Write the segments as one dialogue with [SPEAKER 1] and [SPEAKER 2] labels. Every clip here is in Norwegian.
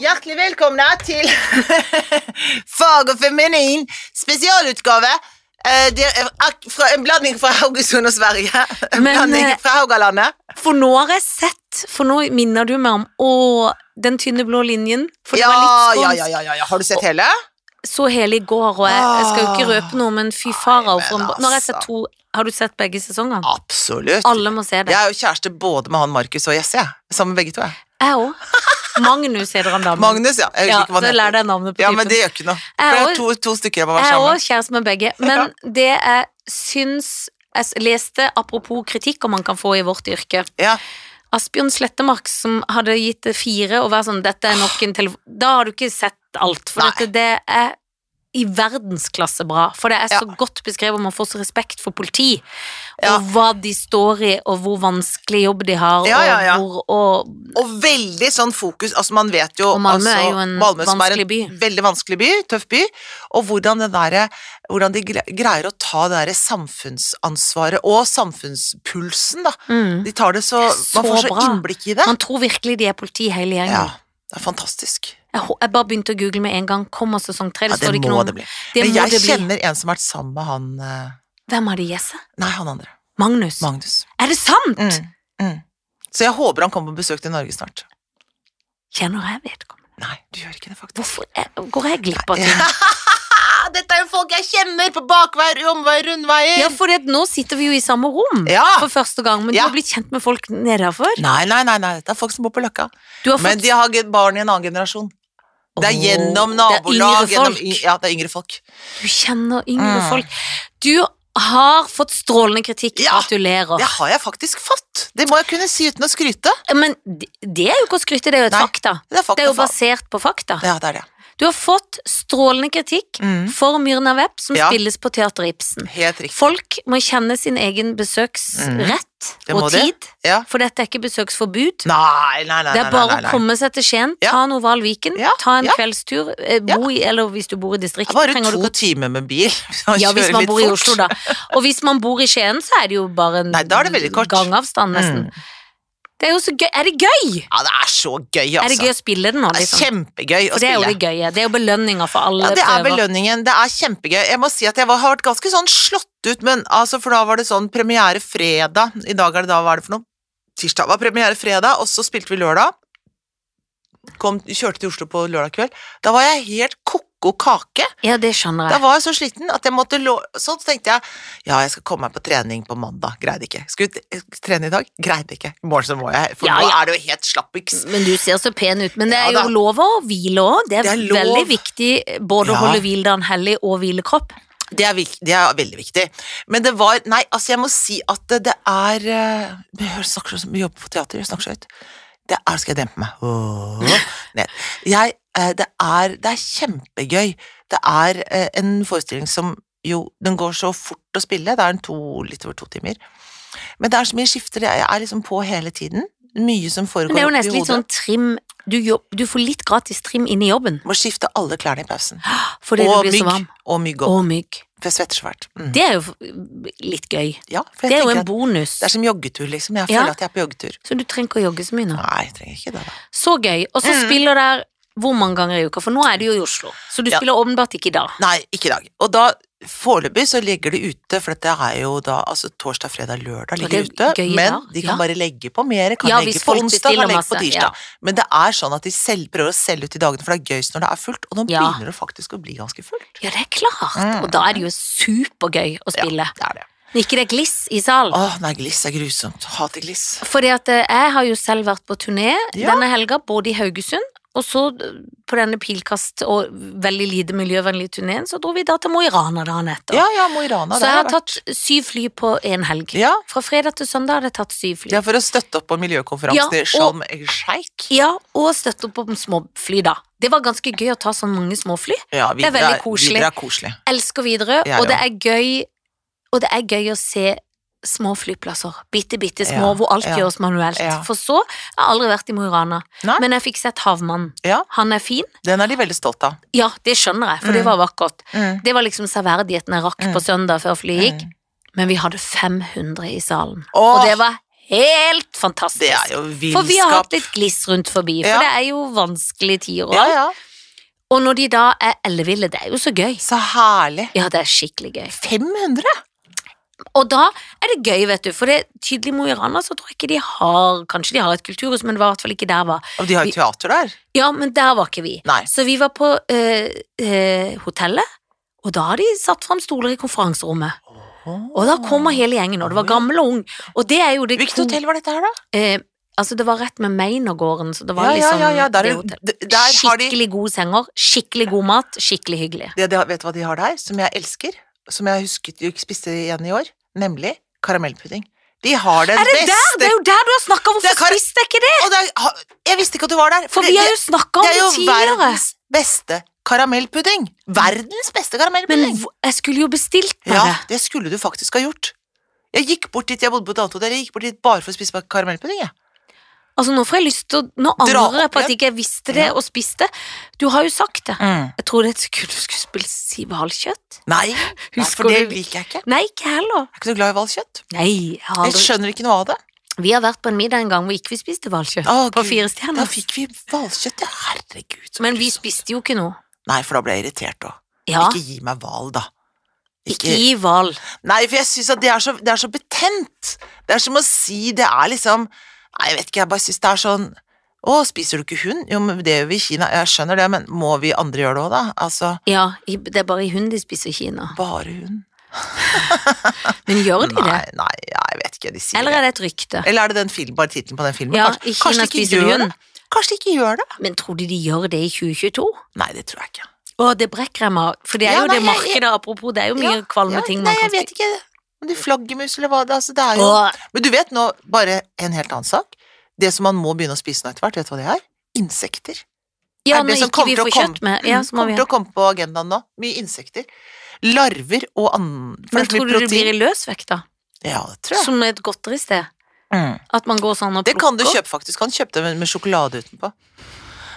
[SPEAKER 1] Hjertelig velkomne til Fag og feminin spesialutgave. Eh, det er ak- fra, en blanding fra Haugesund og Sverige. En
[SPEAKER 2] Men,
[SPEAKER 1] blanding
[SPEAKER 2] eh,
[SPEAKER 1] fra Haugalandet.
[SPEAKER 2] For nå har jeg sett, for nå minner du meg om Å, den tynne blå linjen. For det
[SPEAKER 1] Ja,
[SPEAKER 2] var litt
[SPEAKER 1] ja,
[SPEAKER 2] skånsk.
[SPEAKER 1] ja, ja, ja, ja. Har du sett hele?
[SPEAKER 2] Så hele i går, og jeg, jeg skal jo ikke røpe noe, men fy farao.
[SPEAKER 1] Nei,
[SPEAKER 2] for en
[SPEAKER 1] Ah, men
[SPEAKER 2] bra- Nå har jeg
[SPEAKER 1] altså.
[SPEAKER 2] sett to Har du sett begge sesongene?
[SPEAKER 1] Absolutt.
[SPEAKER 2] Alle må se det.
[SPEAKER 1] Jeg er jo kjæreste både med han Markus og Jesse. jeg. Sammen med begge to. jeg.
[SPEAKER 2] Jeg òg. Magnus heter han damen.
[SPEAKER 1] Magnus, ja. Jeg husker
[SPEAKER 2] ja,
[SPEAKER 1] ikke hva
[SPEAKER 2] så
[SPEAKER 1] han
[SPEAKER 2] lær
[SPEAKER 1] heter.
[SPEAKER 2] deg navnet på
[SPEAKER 1] Ja, men
[SPEAKER 2] typen.
[SPEAKER 1] det gjør ikke noe.
[SPEAKER 2] Jeg
[SPEAKER 1] For det
[SPEAKER 2] også-
[SPEAKER 1] er to, to stykker jeg må
[SPEAKER 2] jeg
[SPEAKER 1] være
[SPEAKER 2] er
[SPEAKER 1] sammen
[SPEAKER 2] òg
[SPEAKER 1] med.
[SPEAKER 2] kjæreste med begge, men det jeg syns jeg s- leste apropos kritikk om man kan få i vårt yrke.
[SPEAKER 1] Ja.
[SPEAKER 2] Asbjørn Slettemark som hadde gitt det fire og var sånn 'dette er nok en telefon'. Da har du ikke sett alt, for
[SPEAKER 1] Nei.
[SPEAKER 2] dette, det er i verdensklasse bra. For det er så
[SPEAKER 1] Ja.
[SPEAKER 2] godt beskrevet, og man får så respekt for politi.
[SPEAKER 1] Ja.
[SPEAKER 2] Og hva de står i, og hvor vanskelig jobb de har,
[SPEAKER 1] Ja, ja, ja.
[SPEAKER 2] og hvor og,
[SPEAKER 1] Og veldig sånn fokus Altså man vet jo
[SPEAKER 2] Og Malmö
[SPEAKER 1] altså,
[SPEAKER 2] er jo en
[SPEAKER 1] som er
[SPEAKER 2] vanskelig by.
[SPEAKER 1] Veldig vanskelig by, tøff by Og hvordan, det derre- hvordan de gre- greier å ta det der samfunnsansvaret Og samfunnspulsen da
[SPEAKER 2] mm.
[SPEAKER 1] De tar det så,
[SPEAKER 2] Det er så
[SPEAKER 1] Man får så
[SPEAKER 2] bra.
[SPEAKER 1] innblikk i det
[SPEAKER 2] Man tror virkelig de er politi hele gjengen.
[SPEAKER 1] Ja, det er fantastisk
[SPEAKER 2] Jeg, hå- jeg bare begynte å google med en gang. Kommer sesong tre?
[SPEAKER 1] ja,
[SPEAKER 2] Det
[SPEAKER 1] Det
[SPEAKER 2] står det ikke
[SPEAKER 1] må
[SPEAKER 2] noe om.
[SPEAKER 1] det bli
[SPEAKER 2] Det
[SPEAKER 1] Men
[SPEAKER 2] må
[SPEAKER 1] jeg
[SPEAKER 2] det bli.
[SPEAKER 1] kjenner en som har vært sammen med han eh,
[SPEAKER 2] Hvem er det Jesse?
[SPEAKER 1] Nei, han andre,
[SPEAKER 2] Magnus.
[SPEAKER 1] Magnus
[SPEAKER 2] er det sant?
[SPEAKER 1] mm, mm. Så jeg håper han kommer på besøk til Norge snart
[SPEAKER 2] Kjenner jeg vedkommende?
[SPEAKER 1] Nei, du gjør ikke det faktisk
[SPEAKER 2] Hvorfor er, går jeg glipp av ting?
[SPEAKER 1] Dette er jo folk jeg kjenner på bakveier, omveier, rundveier
[SPEAKER 2] Ja, for det, nå sitter vi jo i samme rom
[SPEAKER 1] Eh, Ja.
[SPEAKER 2] for første gang, men
[SPEAKER 1] Ja.
[SPEAKER 2] du har blitt kjent med folk nedafor.
[SPEAKER 1] Nei, nei, nei, nei, dette er folk som bor på Løkka.
[SPEAKER 2] Du har
[SPEAKER 1] Men
[SPEAKER 2] fått
[SPEAKER 1] de har ge- barn i en annen generasjon. Det er
[SPEAKER 2] Åh,
[SPEAKER 1] gjennom
[SPEAKER 2] det
[SPEAKER 1] nabolag.
[SPEAKER 2] er yngre
[SPEAKER 1] Gjennom,
[SPEAKER 2] folk.
[SPEAKER 1] yng- ja, det er yngre folk.
[SPEAKER 2] Du kjenner yngre
[SPEAKER 1] Mm.
[SPEAKER 2] folk. Du har fått strålende kritikk.
[SPEAKER 1] Ja.
[SPEAKER 2] Gratulerer.
[SPEAKER 1] Det har jeg faktisk fått. Det må jeg kunne si uten å skryte.
[SPEAKER 2] Men det, det er jo ikke å skryte, det er jo et
[SPEAKER 1] Nei.
[SPEAKER 2] fakta.
[SPEAKER 1] Det er,
[SPEAKER 2] Det er jo
[SPEAKER 1] bare...
[SPEAKER 2] basert på fakta.
[SPEAKER 1] Ja, det er det.
[SPEAKER 2] Du har fått strålende kritikk
[SPEAKER 1] Mm.
[SPEAKER 2] for Myrna Webb, som
[SPEAKER 1] Ja.
[SPEAKER 2] spilles på Teater Ibsen.
[SPEAKER 1] Helt riktig.
[SPEAKER 2] Folk må kjenne sin egen besøksrett
[SPEAKER 1] Mm. Det
[SPEAKER 2] og
[SPEAKER 1] må de.
[SPEAKER 2] tid,
[SPEAKER 1] Ja.
[SPEAKER 2] for dette er ikke besøksforbud.
[SPEAKER 1] Nei, nei, nei.
[SPEAKER 2] Det
[SPEAKER 1] nei,
[SPEAKER 2] er bare
[SPEAKER 1] nei, nei.
[SPEAKER 2] å komme seg til Skien,
[SPEAKER 1] Ja.
[SPEAKER 2] ta en oval Viken,
[SPEAKER 1] Ja,
[SPEAKER 2] ta en
[SPEAKER 1] ja.
[SPEAKER 2] kveldstur, eh, bo i, eller hvis du bor i
[SPEAKER 1] Det
[SPEAKER 2] distriktet
[SPEAKER 1] er bare
[SPEAKER 2] trenger du
[SPEAKER 1] to
[SPEAKER 2] ikke-
[SPEAKER 1] timer med bil. å
[SPEAKER 2] Ja, hvis
[SPEAKER 1] kjøre
[SPEAKER 2] man
[SPEAKER 1] litt
[SPEAKER 2] bor i
[SPEAKER 1] fort.
[SPEAKER 2] Oslo, da. Og hvis man bor i Skien, så er det jo bare en
[SPEAKER 1] Nei, da er det veldig kort.
[SPEAKER 2] gangavstand, nesten.
[SPEAKER 1] Mm.
[SPEAKER 2] Det er jo så gøy. Er det gøy?
[SPEAKER 1] Ja, det er så gøy, altså.
[SPEAKER 2] Er det gøy å spille det nå,
[SPEAKER 1] Det er
[SPEAKER 2] liksom?
[SPEAKER 1] kjempegøy å
[SPEAKER 2] For det er jo
[SPEAKER 1] spille.
[SPEAKER 2] det gøye. Det er jo belønninga for alle
[SPEAKER 1] Ja, det er
[SPEAKER 2] prøver.
[SPEAKER 1] belønningen. Det er kjempegøy. Jeg må si at jeg var, har vært ganske sånn slått ut, men altså, for da var det sånn premiere fredag. I dag er det da, hva er det for noe? Tirsdag var premiere fredag, og så spilte vi lørdag. Kom, kjørte til Oslo på lørdag kveld. Da var jeg helt koko kake.
[SPEAKER 2] Ja, det skjønner
[SPEAKER 1] Da
[SPEAKER 2] jeg.
[SPEAKER 1] var jeg så sliten at jeg måtte lå... Så tenkte jeg, ja, jeg skal komme meg på trening på mandag. Greide ikke. Skulle t- trene i dag? Greide ikke. I morgen så må jeg, for
[SPEAKER 2] Ja,
[SPEAKER 1] nå
[SPEAKER 2] ja.
[SPEAKER 1] er det jo helt slappiks.
[SPEAKER 2] Men du ser så pen ut. Men det er
[SPEAKER 1] Ja, da.
[SPEAKER 2] jo lov å hvile òg. Det er,
[SPEAKER 1] Det er lov.
[SPEAKER 2] veldig viktig både
[SPEAKER 1] Ja.
[SPEAKER 2] å holde hviledagen hellig og hvile kropp.
[SPEAKER 1] Det er, vik- det er veldig viktig. Men det var Nei, altså, jeg må si at det, det er eh, Jeg snakker så mye jobb på teater, jeg snakker så høyt. Det er Skal jeg dempe meg? Åh, ned. Jeg, eh, det, er, det er kjempegøy. Det er eh, en forestilling som jo Den går så fort å spille. Det er en to, litt over to timer. Men det er så mye skifter. Jeg er liksom på hele tiden. Mye som foregår
[SPEAKER 2] Men det er jo
[SPEAKER 1] oppi
[SPEAKER 2] nesten litt
[SPEAKER 1] hodet.
[SPEAKER 2] sånn trim du, jobb, du får litt gratis trim inn i jobben
[SPEAKER 1] Må skifte alle klærne i pausen.
[SPEAKER 2] fordi
[SPEAKER 1] og
[SPEAKER 2] du blir så
[SPEAKER 1] mygg.
[SPEAKER 2] varm.
[SPEAKER 1] Og mygg òg.
[SPEAKER 2] Og mygg.
[SPEAKER 1] For jeg svetter så fælt. Mm.
[SPEAKER 2] Det er jo f- litt gøy.
[SPEAKER 1] Ja, for jeg
[SPEAKER 2] Det er jo
[SPEAKER 1] tenker
[SPEAKER 2] en
[SPEAKER 1] at-
[SPEAKER 2] bonus.
[SPEAKER 1] Det er som joggetur, liksom. Jeg
[SPEAKER 2] Ja.
[SPEAKER 1] føler at jeg er på joggetur.
[SPEAKER 2] Så du trenger ikke å jogge så mye nå.
[SPEAKER 1] Nei, jeg trenger ikke det, da.
[SPEAKER 2] Så gøy. Og så
[SPEAKER 1] Mm.
[SPEAKER 2] spiller der hvor mange ganger i uka? For nå er det jo i Oslo. Så du
[SPEAKER 1] Ja.
[SPEAKER 2] spiller åpenbart ikke i dag.
[SPEAKER 1] Nei, ikke i dag. Og da, foreløpig så ligger det ute, for dette er jo da altså torsdag, fredag, lørdag
[SPEAKER 2] Og
[SPEAKER 1] ligger
[SPEAKER 2] det er
[SPEAKER 1] ute.
[SPEAKER 2] gøy i
[SPEAKER 1] men
[SPEAKER 2] dag,
[SPEAKER 1] de kan
[SPEAKER 2] ja.
[SPEAKER 1] bare legge på mer. Kan
[SPEAKER 2] Ja,
[SPEAKER 1] legge
[SPEAKER 2] hvis
[SPEAKER 1] på
[SPEAKER 2] folk
[SPEAKER 1] onsdag,
[SPEAKER 2] bestiller
[SPEAKER 1] kan legge på
[SPEAKER 2] masse,
[SPEAKER 1] tirsdag. Men det er sånn at de selv prøver å selge ut i dagene, for det er gøyest når det er fullt. Og nå
[SPEAKER 2] Ja.
[SPEAKER 1] begynner det faktisk å bli ganske fullt.
[SPEAKER 2] Ja, det er klart.
[SPEAKER 1] Mm.
[SPEAKER 2] Og da er det jo supergøy å spille.
[SPEAKER 1] Ja, det er det.
[SPEAKER 2] Men ikke det er gliss i salen.
[SPEAKER 1] Åh, nei, gliss er grusomt. Hater gliss.
[SPEAKER 2] Fordi at eh, jeg har jo selv vært på turné
[SPEAKER 1] Ja.
[SPEAKER 2] denne helga, både i Haugesund og så eh, på denne pilkast og veldig lite miljøvennlige turneen, så dro vi da til Mo i Rana dagen etter.
[SPEAKER 1] Ja, ja, Mo i Rana.
[SPEAKER 2] så
[SPEAKER 1] der
[SPEAKER 2] jeg har
[SPEAKER 1] vært.
[SPEAKER 2] tatt syv fly på en helg.
[SPEAKER 1] Ja.
[SPEAKER 2] Fra fredag til søndag har jeg tatt syv fly.
[SPEAKER 1] Ja, for å støtte opp på miljøkonferansen
[SPEAKER 2] Ja,
[SPEAKER 1] i Sharm el-Sheikh.
[SPEAKER 2] Ja, og støtte opp om småfly, da. Det var ganske gøy å ta så mange småfly.
[SPEAKER 1] Ja,
[SPEAKER 2] Det er
[SPEAKER 1] videre
[SPEAKER 2] veldig koselig.
[SPEAKER 1] Videre er koselig.
[SPEAKER 2] Elsker Widerøe,
[SPEAKER 1] Ja,
[SPEAKER 2] og det er gøy Og det er gøy å se små flyplasser. Bitte, bitte små,
[SPEAKER 1] Ja,
[SPEAKER 2] hvor alt
[SPEAKER 1] ja,
[SPEAKER 2] gjøres manuelt.
[SPEAKER 1] ja.
[SPEAKER 2] For så Jeg har aldri vært i Mo i Rana,
[SPEAKER 1] Nei.
[SPEAKER 2] men jeg fikk sett Havmannen.
[SPEAKER 1] Ja.
[SPEAKER 2] Han er fin.
[SPEAKER 1] Den er de veldig stolt av.
[SPEAKER 2] Ja, det skjønner jeg, for det
[SPEAKER 1] Mm.
[SPEAKER 2] var vakkert.
[SPEAKER 1] Mm.
[SPEAKER 2] Det var liksom severdigheten jeg rakk
[SPEAKER 1] Mm.
[SPEAKER 2] på søndag før flyet gikk.
[SPEAKER 1] Mm.
[SPEAKER 2] Men vi hadde 500 i salen,
[SPEAKER 1] Åh,
[SPEAKER 2] og det var helt fantastisk.
[SPEAKER 1] Det er jo
[SPEAKER 2] For vi har
[SPEAKER 1] villskap.
[SPEAKER 2] hatt litt gliss rundt forbi, for
[SPEAKER 1] Ja.
[SPEAKER 2] det er jo vanskelige tider. og
[SPEAKER 1] Ja,
[SPEAKER 2] alt.
[SPEAKER 1] ja.
[SPEAKER 2] Og når de da er elleville, det er jo så gøy.
[SPEAKER 1] Så herlig.
[SPEAKER 2] Ja, det er skikkelig gøy.
[SPEAKER 1] 500?
[SPEAKER 2] Og da er det gøy, vet du, for det er tydelig Mo i Rana, så tror jeg ikke de har Kanskje de har et kulturhus, men det var i hvert fall ikke der var.
[SPEAKER 1] Og de har
[SPEAKER 2] Vi-
[SPEAKER 1] jo teater der.
[SPEAKER 2] Ja, men der var ikke vi.
[SPEAKER 1] Nei.
[SPEAKER 2] Så vi var på eh, eh, hotellet, og da har de satt fram stoler i konferanserommet. Og da kommer hele gjengen, og det var gammel og ung. Og det er jo det
[SPEAKER 1] Hvilket hotell var dette her, da?
[SPEAKER 2] Eh, altså, det var rett med Meinergården, så det var
[SPEAKER 1] Ja, ja,
[SPEAKER 2] liksom
[SPEAKER 1] ja, ja, der,
[SPEAKER 2] det
[SPEAKER 1] er-
[SPEAKER 2] hotellet.
[SPEAKER 1] d- der har de
[SPEAKER 2] Skikkelig gode senger, skikkelig god mat, skikkelig hyggelig.
[SPEAKER 1] det, det, Vet du hva de har der, som jeg elsker? Som jeg husket jo ikke spiste igjen i år? Nemlig karamellpudding. De har den
[SPEAKER 2] Er det der?
[SPEAKER 1] beste
[SPEAKER 2] Det er jo der du har snakka!
[SPEAKER 1] Det
[SPEAKER 2] Hvorfor
[SPEAKER 1] er kar-
[SPEAKER 2] spiste jeg ikke det?
[SPEAKER 1] Og det er, ha- Jeg visste ikke at du var der!
[SPEAKER 2] For
[SPEAKER 1] det-
[SPEAKER 2] vi har
[SPEAKER 1] det-
[SPEAKER 2] jo snakka om
[SPEAKER 1] det er
[SPEAKER 2] det
[SPEAKER 1] jo
[SPEAKER 2] tidligere.
[SPEAKER 1] verdens beste karamellpudding! Verdens beste
[SPEAKER 2] Men
[SPEAKER 1] karamellpudding!
[SPEAKER 2] hvor- jeg skulle jo bestilt
[SPEAKER 1] Ja,
[SPEAKER 2] bare.
[SPEAKER 1] det skulle du faktisk ha gjort. Jeg gikk bort dit, jeg bodde på et annet hotell, jeg gikk bort dit bare for å spise karamellpudding, jeg.
[SPEAKER 2] Altså, nå får jeg lyst til å Nå
[SPEAKER 1] Dra
[SPEAKER 2] angrer jeg
[SPEAKER 1] opp
[SPEAKER 2] på at
[SPEAKER 1] igjen.
[SPEAKER 2] ikke jeg visste det
[SPEAKER 1] Ja.
[SPEAKER 2] og spiste. Du har jo sagt det. Jeg trodde et sekund du skulle spille Siv Hal-kjøtt.
[SPEAKER 1] Nei, nei,
[SPEAKER 2] Husker
[SPEAKER 1] for det
[SPEAKER 2] du-
[SPEAKER 1] liker jeg ikke.
[SPEAKER 2] Nei, ikke
[SPEAKER 1] Jeg
[SPEAKER 2] heller.
[SPEAKER 1] er ikke så glad i hvalkjøtt.
[SPEAKER 2] Nei, jeg har
[SPEAKER 1] Jeg
[SPEAKER 2] aldri.
[SPEAKER 1] skjønner ikke noe av det.
[SPEAKER 2] Vi har vært på en middag en gang hvor ikke vi spiste hvalkjøtt.
[SPEAKER 1] Å,
[SPEAKER 2] På
[SPEAKER 1] Gud.
[SPEAKER 2] Fire
[SPEAKER 1] Da
[SPEAKER 2] stjerner.
[SPEAKER 1] fikk vi hvalkjøtt, ja. Herregud. så
[SPEAKER 2] Men vi
[SPEAKER 1] grusomt.
[SPEAKER 2] spiste jo ikke noe.
[SPEAKER 1] Nei, for da ble jeg irritert òg.
[SPEAKER 2] Ja,
[SPEAKER 1] Ikke gi meg hval, da.
[SPEAKER 2] ikke gi hval.
[SPEAKER 1] Nei, for jeg syns at det er, så, det er så betent. Det er som å si Det er liksom Nei, jeg vet ikke, jeg bare syns det er sånn Å, spiser du ikke hund? Jo, men det gjør vi i Kina. Jeg skjønner det, men må vi andre gjøre det òg, da? Altså,
[SPEAKER 2] Ja, i- det er bare i hund de spiser i Kina.
[SPEAKER 1] bare hund?
[SPEAKER 2] Men gjør de
[SPEAKER 1] Nei,
[SPEAKER 2] det?
[SPEAKER 1] nei, jeg vet ikke, de sier
[SPEAKER 2] Eller er det et rykte?
[SPEAKER 1] det. Eller er det den film, bare tittelen på den filmen?
[SPEAKER 2] Ja,
[SPEAKER 1] Kanskje-
[SPEAKER 2] i
[SPEAKER 1] kanskje
[SPEAKER 2] Kina
[SPEAKER 1] de ikke
[SPEAKER 2] spiser de
[SPEAKER 1] gjør
[SPEAKER 2] hund.
[SPEAKER 1] det? Kanskje de ikke gjør det?
[SPEAKER 2] Men tror du de gjør det i 2022?
[SPEAKER 1] Nei, det tror jeg ikke.
[SPEAKER 2] Å, det brekker jeg meg av. For det er
[SPEAKER 1] Ja,
[SPEAKER 2] jo
[SPEAKER 1] nei,
[SPEAKER 2] det
[SPEAKER 1] jeg- jeg-
[SPEAKER 2] markedet, apropos, det er jo mye
[SPEAKER 1] Ja,
[SPEAKER 2] kvalme
[SPEAKER 1] Ja,
[SPEAKER 2] ting
[SPEAKER 1] nei,
[SPEAKER 2] man
[SPEAKER 1] jeg
[SPEAKER 2] kan
[SPEAKER 1] vet ikke om de flaggermus eller hva det altså, det er jo
[SPEAKER 2] Åh,
[SPEAKER 1] Men du vet nå, bare en helt annen sak. Det som man må begynne å spise nå etter hvert, vet du hva det er? Insekter.
[SPEAKER 2] ja,
[SPEAKER 1] er det
[SPEAKER 2] når
[SPEAKER 1] som
[SPEAKER 2] ikke
[SPEAKER 1] kommer
[SPEAKER 2] vi
[SPEAKER 1] til å
[SPEAKER 2] får
[SPEAKER 1] komme-
[SPEAKER 2] kjøtt med, ja,
[SPEAKER 1] Mm,
[SPEAKER 2] så må vi
[SPEAKER 1] kommer til å komme på agendaen nå. Mye insekter. Larver og annen
[SPEAKER 2] Men tror du det blir i løsvekt, da?
[SPEAKER 1] Ja, det tror jeg.
[SPEAKER 2] Som et godteristed?
[SPEAKER 1] Mm.
[SPEAKER 2] At man går sånn og
[SPEAKER 1] Det
[SPEAKER 2] plukker?
[SPEAKER 1] kan du kjøpe, faktisk. Kan kjøpe det med, med sjokolade utenpå.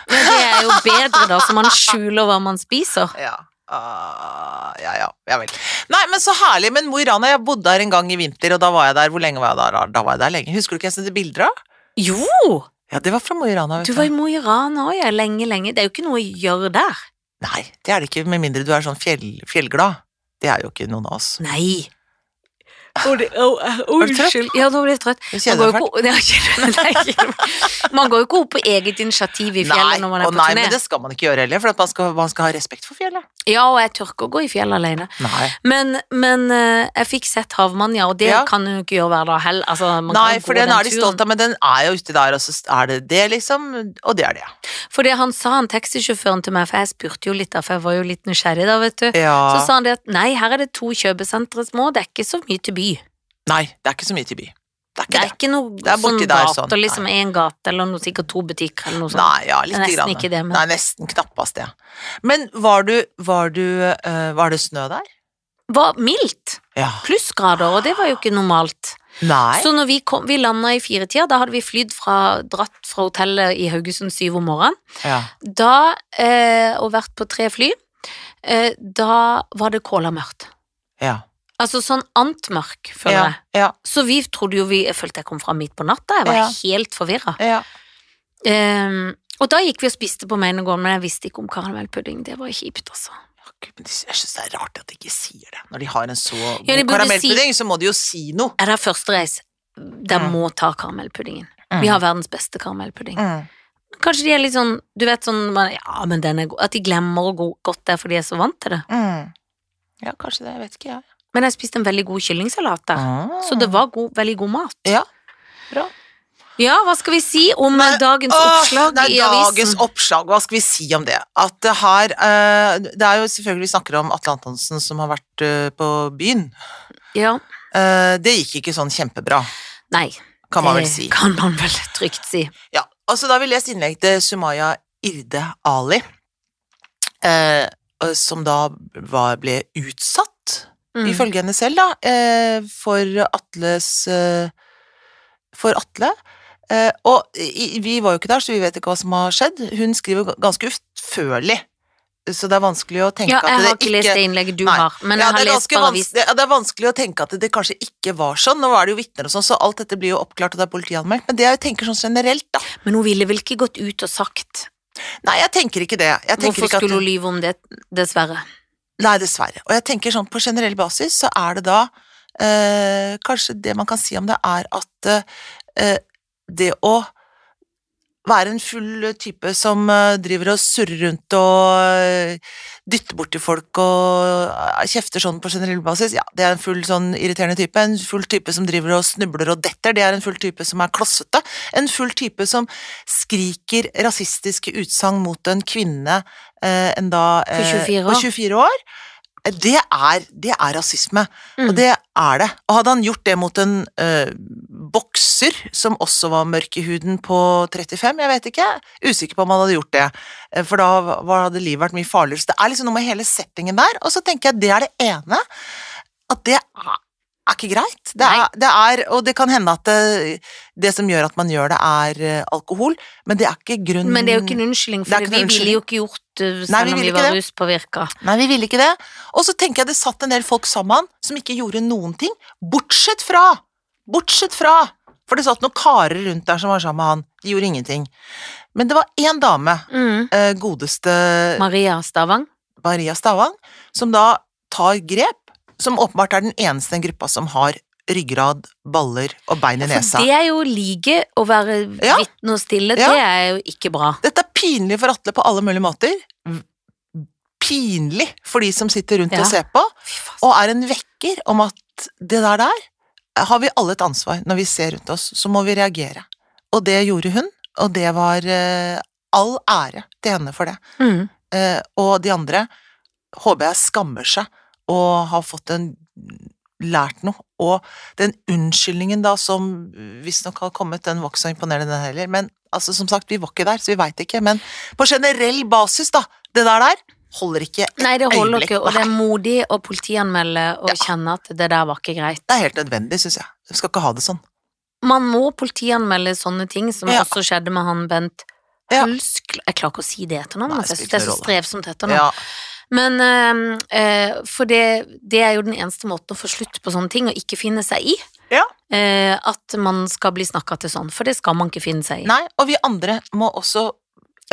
[SPEAKER 2] Ja, det er jo bedre, da, så man skjuler hva man spiser.
[SPEAKER 1] Ja. Ah, ja, ja, ja vel. Nei, men så herlig. Men Mo i Rana, jeg bodde her en gang i vinter, og da var jeg der. Hvor lenge var jeg der? Da var jeg der lenge. Husker du ikke jeg sendte bilder av?
[SPEAKER 2] Jo!
[SPEAKER 1] Ja, det var fra Mo i Rana. vet
[SPEAKER 2] Du var i Mo i Rana òg, ja. Lenge, lenge. Det er jo ikke noe å gjøre der.
[SPEAKER 1] Nei, det er det ikke, med mindre du er sånn fjell, fjellglad. Det er jo ikke noen av oss.
[SPEAKER 2] Nei. Og det, å, å,
[SPEAKER 1] Var du trøtt?
[SPEAKER 2] unnskyld. Ja, nå ble jeg trøtt.
[SPEAKER 1] Jeg
[SPEAKER 2] Man
[SPEAKER 1] kjenner
[SPEAKER 2] går,
[SPEAKER 1] det
[SPEAKER 2] jo ikke, Nei, ikke- nei, ikke- man går jo ikke opp på eget initiativ i
[SPEAKER 1] fælt. Nei,
[SPEAKER 2] fjellet når man er
[SPEAKER 1] og
[SPEAKER 2] på
[SPEAKER 1] nei,
[SPEAKER 2] turné.
[SPEAKER 1] men det skal man ikke gjøre heller, for at man, skal, man skal ha respekt for fjellet.
[SPEAKER 2] Ja, og jeg tør ikke å gå i fjellet alene.
[SPEAKER 1] Nei,
[SPEAKER 2] Men, men eh, jeg fikk sett Havmanja, og det
[SPEAKER 1] Ja.
[SPEAKER 2] kan hun ikke gjøre hver dag heller. Altså, man
[SPEAKER 1] nei
[SPEAKER 2] kan gå
[SPEAKER 1] for den, er de stolt av, men den er jo uti der, og så er det det, liksom. Og det er det, ja.
[SPEAKER 2] For det han sa, han taxisjåføren til meg, for jeg spurte jo litt da, for jeg var jo litt nysgjerrig da, vet du.
[SPEAKER 1] ja.
[SPEAKER 2] Så sa han det at nei, her er det to kjøpesentre små, det er ikke så mye til by.
[SPEAKER 1] Nei, det er ikke så mye til by. Det er
[SPEAKER 2] Det
[SPEAKER 1] ikke
[SPEAKER 2] er
[SPEAKER 1] det.
[SPEAKER 2] ikke noe
[SPEAKER 1] Det er borti
[SPEAKER 2] sånn
[SPEAKER 1] der,
[SPEAKER 2] gater,
[SPEAKER 1] sånn.
[SPEAKER 2] liksom en gate, eller noe, sikkert to butikker, eller noe sånt.
[SPEAKER 1] Nei, ja,
[SPEAKER 2] sånn. Det
[SPEAKER 1] lite
[SPEAKER 2] er nesten
[SPEAKER 1] grann.
[SPEAKER 2] ikke det, men-
[SPEAKER 1] Nei, nesten knappast det. Men var du, var du, eh, var det snø der?
[SPEAKER 2] Var mildt,
[SPEAKER 1] Ja.
[SPEAKER 2] plussgrader, og det var jo ikke normalt.
[SPEAKER 1] Nei.
[SPEAKER 2] Så når vi, kom- vi landa i firetida, da hadde vi flydd fra, dratt fra hotellet i Haugesund syv om morgenen,
[SPEAKER 1] Ja.
[SPEAKER 2] da, eh, og vært på tre fly, eh, da var det kålamørkt.
[SPEAKER 1] Ja.
[SPEAKER 2] Altså sånn antmørk, føler
[SPEAKER 1] Ja.
[SPEAKER 2] jeg.
[SPEAKER 1] Ja.
[SPEAKER 2] Så vi trodde jo vi Jeg følte jeg kom fram midt på natta, jeg var
[SPEAKER 1] Ja.
[SPEAKER 2] helt forvirra.
[SPEAKER 1] ja.
[SPEAKER 2] Ehm, og da gikk vi og spiste på Meinegården, men jeg visste ikke om karamellpudding. Det var kjipt, altså.
[SPEAKER 1] Gud, men de- Jeg syns det er rart at de ikke sier det. Når de har en så god
[SPEAKER 2] de burde
[SPEAKER 1] karamellpudding, så må de jo si noe.
[SPEAKER 2] Er det første reis? Der må ta karamellpuddingen. Vi har verdens beste karamellpudding.
[SPEAKER 1] Mm.
[SPEAKER 2] Kanskje de er litt sånn, du vet sånn man- Ja, men den er god. At de glemmer å gå godt der fordi de er så vant til det.
[SPEAKER 1] Mm. Ja, kanskje det. Jeg vet ikke, jeg. Ah.
[SPEAKER 2] Men jeg spiste en veldig god kyllingsalat der. Så det var god, veldig god mat.
[SPEAKER 1] Ja. Bra.
[SPEAKER 2] Ja, hva skal vi si om
[SPEAKER 1] Nei,
[SPEAKER 2] eh, dagens
[SPEAKER 1] Åh,
[SPEAKER 2] oppslag
[SPEAKER 1] nei,
[SPEAKER 2] i
[SPEAKER 1] Dagens
[SPEAKER 2] avisen?
[SPEAKER 1] oppslag, hva skal vi si om det? At det her eh, Det er jo selvfølgelig vi snakker om Atle Antonsen som har vært eh, på byen.
[SPEAKER 2] Ja.
[SPEAKER 1] Eh, det gikk ikke sånn kjempebra,
[SPEAKER 2] Nei,
[SPEAKER 1] kan man vel
[SPEAKER 2] det
[SPEAKER 1] si.
[SPEAKER 2] kan man vel trygt si.
[SPEAKER 1] Ja, altså Da har vi lest innlegg til Sumaya Irde Ali, eh, som da var, ble utsatt
[SPEAKER 2] Mm.
[SPEAKER 1] ifølge henne selv, da, eh, for Atles eh, For Atle. Eh, og i, vi var jo ikke der, så vi vet ikke hva som har skjedd. Hun skriver g- ganske utførlig så det er vanskelig å tenke
[SPEAKER 2] Ja,
[SPEAKER 1] at
[SPEAKER 2] jeg
[SPEAKER 1] det
[SPEAKER 2] har ikke lest det innlegget du
[SPEAKER 1] Nei.
[SPEAKER 2] har, men
[SPEAKER 1] ja,
[SPEAKER 2] jeg
[SPEAKER 1] det
[SPEAKER 2] har
[SPEAKER 1] er
[SPEAKER 2] lest
[SPEAKER 1] ganske
[SPEAKER 2] bare
[SPEAKER 1] vans-
[SPEAKER 2] avisen.
[SPEAKER 1] det, ja, det er vanskelig å tenke at det kanskje ikke var sånn. Nå er det jo vitner og sånn, så alt dette blir jo oppklart, og det er politianmeldt. Men det jeg tenker sånn generelt, da
[SPEAKER 2] Men hun ville vel ikke gått ut og sagt
[SPEAKER 1] Nei, jeg tenker ikke det. Jeg tenker
[SPEAKER 2] Hvorfor
[SPEAKER 1] ikke at
[SPEAKER 2] skulle hun lyve om det, dessverre?
[SPEAKER 1] Nei, dessverre. Og jeg tenker sånn på generell basis så er det da eh, Kanskje det man kan si om det, er at eh, det å være en full type som eh, driver og surrer rundt og eh, dytter borti folk og eh, kjefter sånn på generell basis, ja, det er en full sånn irriterende type. En full type som driver og snubler og detter, det er en full type som er klossete. En full type som skriker rasistiske utsagn mot en kvinne eh, enn da
[SPEAKER 2] På 24 år.
[SPEAKER 1] på 24 år. Eh, Det er, det er rasisme,
[SPEAKER 2] Mm.
[SPEAKER 1] og det er det. Og hadde han gjort det mot en eh, bokser som også var mørk i huden på 35, jeg vet ikke, usikker på om han hadde gjort det, eh, for da var, hadde livet vært mye farligere. Så det er liksom noe med hele settingen der, og så tenker jeg at det er det ene, at det er er ikke greit. Det er,
[SPEAKER 2] Nei.
[SPEAKER 1] det er, og det kan hende at det, det som gjør at man gjør det, er eh, alkohol, men det er ikke grunn
[SPEAKER 2] Men det er jo ikke en unnskyldning,
[SPEAKER 1] Mm. Det er
[SPEAKER 2] for
[SPEAKER 1] ikke
[SPEAKER 2] vi
[SPEAKER 1] noen
[SPEAKER 2] ville jo ikke gjort det selv
[SPEAKER 1] Nei, vi
[SPEAKER 2] om
[SPEAKER 1] ville
[SPEAKER 2] vi
[SPEAKER 1] ikke
[SPEAKER 2] var
[SPEAKER 1] det.
[SPEAKER 2] ruspåvirka.
[SPEAKER 1] Nei, vi ville ikke det. Og så tenker jeg det satt en del folk sammen som ikke gjorde noen ting, bortsett fra Bortsett fra! For det satt noen karer rundt der som var sammen med han. De gjorde ingenting. Men det var én dame,
[SPEAKER 2] Mm.
[SPEAKER 1] eh, godeste
[SPEAKER 2] Maria Stavang.
[SPEAKER 1] Maria Stavang, som da tar grep, som åpenbart er den eneste i den gruppa som har ryggrad, baller og bein i nesa.
[SPEAKER 2] For det er jo like å være
[SPEAKER 1] Ja.
[SPEAKER 2] vitne og stille,
[SPEAKER 1] Ja.
[SPEAKER 2] det er jo ikke bra.
[SPEAKER 1] Dette er pinlig for Atle på alle mulige måter. Pinlig for de som sitter rundt
[SPEAKER 2] Ja.
[SPEAKER 1] og ser på,
[SPEAKER 2] Fy faen.
[SPEAKER 1] og er en vekker om at det der der har vi alle et ansvar når vi ser rundt oss, så må vi reagere. Og det gjorde hun, og det var eh, all ære til henne for det.
[SPEAKER 2] Mm.
[SPEAKER 1] Eh, og de andre håper jeg skammer seg og har fått en lært noe. Og den unnskyldningen da som visstnok har kommet, den var ikke så imponerende den heller. Men altså, som sagt, vi var ikke der, så vi veit ikke. Men på generell basis, da, det der der holder ikke.
[SPEAKER 2] Nei, det holder
[SPEAKER 1] Øyeblikk.
[SPEAKER 2] ikke, og det er modig å politianmelde og
[SPEAKER 1] Ja.
[SPEAKER 2] kjenne at det der var ikke greit.
[SPEAKER 1] Det er helt nødvendig, syns jeg. Vi skal ikke ha det sånn.
[SPEAKER 2] Man må politianmelde sånne ting, som
[SPEAKER 1] Ja.
[SPEAKER 2] også skjedde med han Bent
[SPEAKER 1] Ja.
[SPEAKER 2] Hulsk Jeg klarer ikke å si det etternavn,
[SPEAKER 1] Nei,
[SPEAKER 2] for jeg synes det
[SPEAKER 1] spiller
[SPEAKER 2] er så
[SPEAKER 1] ingen
[SPEAKER 2] strevsomt etternavn.
[SPEAKER 1] Ja,
[SPEAKER 2] Men ehm, eh, For det, det er jo den eneste måten å få slutt på sånne ting, og ikke finne seg i.
[SPEAKER 1] Ja.
[SPEAKER 2] Eh, at man skal bli snakka til sånn, for det skal man ikke finne seg i.
[SPEAKER 1] Nei, og vi andre må også
[SPEAKER 2] Og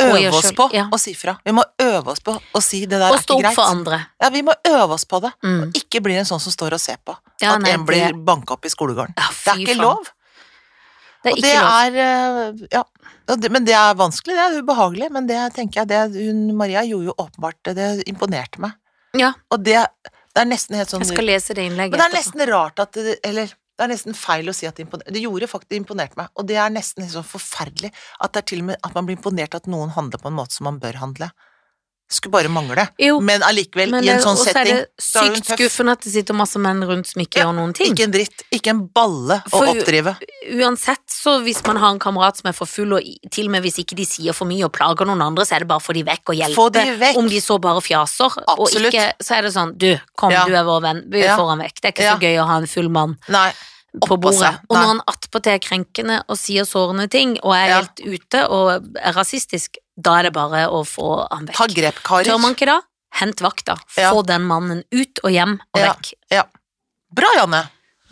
[SPEAKER 1] øve
[SPEAKER 2] gjør
[SPEAKER 1] oss
[SPEAKER 2] selv,
[SPEAKER 1] på
[SPEAKER 2] ja.
[SPEAKER 1] å si fra. Vi må øve oss på å si det der
[SPEAKER 2] og
[SPEAKER 1] er
[SPEAKER 2] stå
[SPEAKER 1] ikke
[SPEAKER 2] opp for
[SPEAKER 1] greit.
[SPEAKER 2] andre.
[SPEAKER 1] Ja, vi må øve oss på det.
[SPEAKER 2] Mm.
[SPEAKER 1] Ikke bli en sånn som står og ser på.
[SPEAKER 2] Ja,
[SPEAKER 1] at
[SPEAKER 2] nei,
[SPEAKER 1] en blir banka opp i skolegården.
[SPEAKER 2] ja,
[SPEAKER 1] Det er
[SPEAKER 2] fy
[SPEAKER 1] ikke
[SPEAKER 2] faen.
[SPEAKER 1] lov.
[SPEAKER 2] Det er
[SPEAKER 1] og
[SPEAKER 2] ikke
[SPEAKER 1] det
[SPEAKER 2] lov.
[SPEAKER 1] er eh, Ja. og det- Men det er vanskelig, det er ubehagelig, men det tenker jeg det hun Maria gjorde jo åpenbart det- Det imponerte meg.
[SPEAKER 2] Ja.
[SPEAKER 1] Og det, det er nesten helt sånn
[SPEAKER 2] Jeg skal lese det innlegget.
[SPEAKER 1] Men det er
[SPEAKER 2] etterpå.
[SPEAKER 1] nesten rart at det, Eller det er nesten feil å si at det imponerte Det gjorde faktisk det imponerte meg, og det er nesten helt sånn forferdelig at det er til og med at man blir imponert at noen handler på en måte som man bør handle. Skulle bare mangle.
[SPEAKER 2] Jo,
[SPEAKER 1] Men allikevel,
[SPEAKER 2] men
[SPEAKER 1] i en
[SPEAKER 2] det-
[SPEAKER 1] sånn
[SPEAKER 2] og så er
[SPEAKER 1] setting,
[SPEAKER 2] det
[SPEAKER 1] så er hun
[SPEAKER 2] sykt
[SPEAKER 1] tøff.
[SPEAKER 2] skuffende at det sitter masse menn rundt som ikke
[SPEAKER 1] Ja,
[SPEAKER 2] gjør noen ting.
[SPEAKER 1] ikke en dritt. Ikke en balle å
[SPEAKER 2] For-
[SPEAKER 1] oppdrive.
[SPEAKER 2] Uansett, så hvis man har en kamerat som er for full, og i- til og med hvis ikke de sier for mye og plager noen andre, så er det bare å få de vekk og hjelpe.
[SPEAKER 1] Få de vekk.
[SPEAKER 2] Om de så bare fjaser, og
[SPEAKER 1] Absolutt.
[SPEAKER 2] ikke Så er det sånn, du, kom,
[SPEAKER 1] Ja.
[SPEAKER 2] du er vår venn, vi
[SPEAKER 1] Ja.
[SPEAKER 2] får han vekk. Det er ikke så
[SPEAKER 1] Ja.
[SPEAKER 2] gøy å ha en full mann
[SPEAKER 1] Nei.
[SPEAKER 2] på
[SPEAKER 1] Oppå
[SPEAKER 2] bordet.
[SPEAKER 1] seg.
[SPEAKER 2] Og når
[SPEAKER 1] Nei.
[SPEAKER 2] han attpåtil er krenkende og sier sårende ting, og er
[SPEAKER 1] Ja.
[SPEAKER 2] helt ute og er rasistisk, da er det bare å få han vekk.
[SPEAKER 1] Ta grep,
[SPEAKER 2] Tør
[SPEAKER 1] karer.
[SPEAKER 2] man ikke da? Hent vakta.
[SPEAKER 1] Ja.
[SPEAKER 2] Få den mannen ut og hjem og
[SPEAKER 1] Ja.
[SPEAKER 2] vekk.
[SPEAKER 1] Bra, Janne.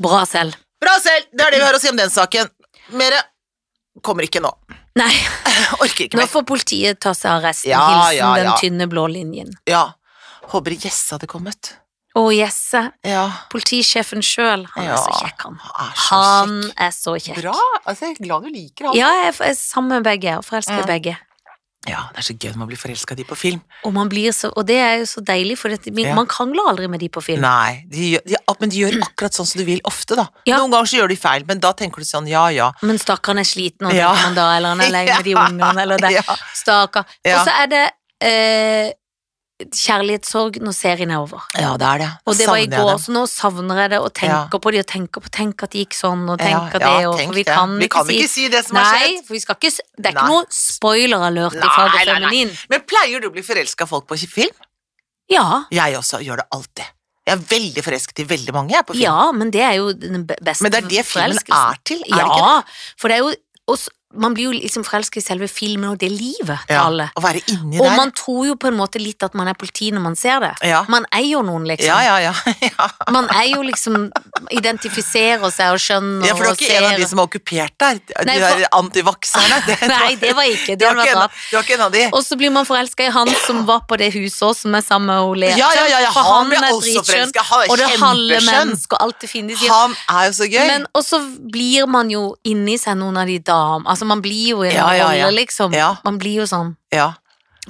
[SPEAKER 2] Bra selv.
[SPEAKER 1] Bra selv! Det er det vi har å si om den saken. Mere kommer ikke nå.
[SPEAKER 2] Nei,
[SPEAKER 1] Orker ikke
[SPEAKER 2] nå
[SPEAKER 1] mer.
[SPEAKER 2] får politiet ta seg av resten.
[SPEAKER 1] Ja,
[SPEAKER 2] Hilsen
[SPEAKER 1] ja, ja.
[SPEAKER 2] den tynne blå linjen.
[SPEAKER 1] Ja. Håper Jesse hadde kommet.
[SPEAKER 2] Å, Jesse.
[SPEAKER 1] Ja.
[SPEAKER 2] Politisjefen sjøl. Han
[SPEAKER 1] Ja.
[SPEAKER 2] er så kjekk, han.
[SPEAKER 1] Han er så
[SPEAKER 2] Han
[SPEAKER 1] kjekk.
[SPEAKER 2] er så kjekk.
[SPEAKER 1] Bra. Altså, jeg er glad du liker han.
[SPEAKER 2] Ja, jeg er sammen med begge, og forelsker i
[SPEAKER 1] Mm.
[SPEAKER 2] begge.
[SPEAKER 1] Ja, det er så gøy når man blir forelska i de på film.
[SPEAKER 2] Og, man blir så, og det er jo så deilig, for det,
[SPEAKER 1] Ja.
[SPEAKER 2] man krangler aldri med de på film.
[SPEAKER 1] Nei, de, gjør- de, ja, men de gjør akkurat sånn som du vil, ofte, da.
[SPEAKER 2] Ja.
[SPEAKER 1] Noen ganger så gjør de feil, men da tenker du sånn ja, ja.
[SPEAKER 2] Men stakkaren er sliten, og
[SPEAKER 1] Ja.
[SPEAKER 2] tenker man da, eller han er lei med de ungene, eller det.
[SPEAKER 1] Ja.
[SPEAKER 2] Stakkar.
[SPEAKER 1] Ja.
[SPEAKER 2] Og så er det eh, kjærlighetssorg når serien er over.
[SPEAKER 1] ja, det er det.
[SPEAKER 2] Og det var i
[SPEAKER 1] Savner jeg
[SPEAKER 2] går,
[SPEAKER 1] dem.
[SPEAKER 2] så nå savner jeg det, og tenker på de, og tenker på Tenk at det gikk sånn, og
[SPEAKER 1] Ja,
[SPEAKER 2] tenker
[SPEAKER 1] ja,
[SPEAKER 2] det, og
[SPEAKER 1] tenk
[SPEAKER 2] for vi
[SPEAKER 1] det.
[SPEAKER 2] kan
[SPEAKER 1] vi
[SPEAKER 2] ikke si
[SPEAKER 1] det som har
[SPEAKER 2] Nei,
[SPEAKER 1] skjedd.
[SPEAKER 2] for vi skal ikke s- Det er
[SPEAKER 1] Nei.
[SPEAKER 2] ikke noe spoiler-alert i
[SPEAKER 1] Nei,
[SPEAKER 2] faget
[SPEAKER 1] nei, nei.
[SPEAKER 2] feminin.
[SPEAKER 1] Men pleier du å bli forelska folk på film?
[SPEAKER 2] Ja,
[SPEAKER 1] Jeg også gjør det alltid. Jeg er veldig forelsket i veldig mange, jeg, på film.
[SPEAKER 2] ja, men det er jo den be- beste
[SPEAKER 1] Men det er det filmen
[SPEAKER 2] forelskelsen.
[SPEAKER 1] er til, er det ikke
[SPEAKER 2] Ja, for det er jo og s- man blir jo liksom forelsket i selve filmen og det livet til
[SPEAKER 1] Ja,
[SPEAKER 2] alle.
[SPEAKER 1] Å være inni
[SPEAKER 2] Og
[SPEAKER 1] der.
[SPEAKER 2] man tror jo på en måte litt at man er politi når man ser det.
[SPEAKER 1] Ja.
[SPEAKER 2] Man er jo noen, liksom.
[SPEAKER 1] ja, ja, ja. ja.
[SPEAKER 2] Man er jo liksom Identifiserer seg og skjønner
[SPEAKER 1] Ja, for du er
[SPEAKER 2] og
[SPEAKER 1] ikke en av de som er okkupert der? De
[SPEAKER 2] Nei,
[SPEAKER 1] der
[SPEAKER 2] for-
[SPEAKER 1] antivakserne? Det-
[SPEAKER 2] Nei, det var jeg ikke.
[SPEAKER 1] Du
[SPEAKER 2] Det
[SPEAKER 1] er
[SPEAKER 2] hadde
[SPEAKER 1] ikke,
[SPEAKER 2] vært
[SPEAKER 1] en
[SPEAKER 2] rart.
[SPEAKER 1] av- du er ikke en av de?
[SPEAKER 2] Og så blir man forelska i han som var på det huset også, som er sammen med Ole.
[SPEAKER 1] Ja, ja, ja, ja,
[SPEAKER 2] For
[SPEAKER 1] han
[SPEAKER 2] han,
[SPEAKER 1] blir
[SPEAKER 2] er
[SPEAKER 1] også
[SPEAKER 2] dritskjønn,
[SPEAKER 1] forelsket. Han er
[SPEAKER 2] og det er halve
[SPEAKER 1] kjempeskjønn.
[SPEAKER 2] menneske og alt det fine de sier.
[SPEAKER 1] Han er jo så gøy!
[SPEAKER 2] Men og så blir man jo inni seg noen av de dam... Altså, man blir jo i en
[SPEAKER 1] Ja, ja, ja.
[SPEAKER 2] rolle, liksom.
[SPEAKER 1] Ja.
[SPEAKER 2] Man blir jo sånn.
[SPEAKER 1] ja.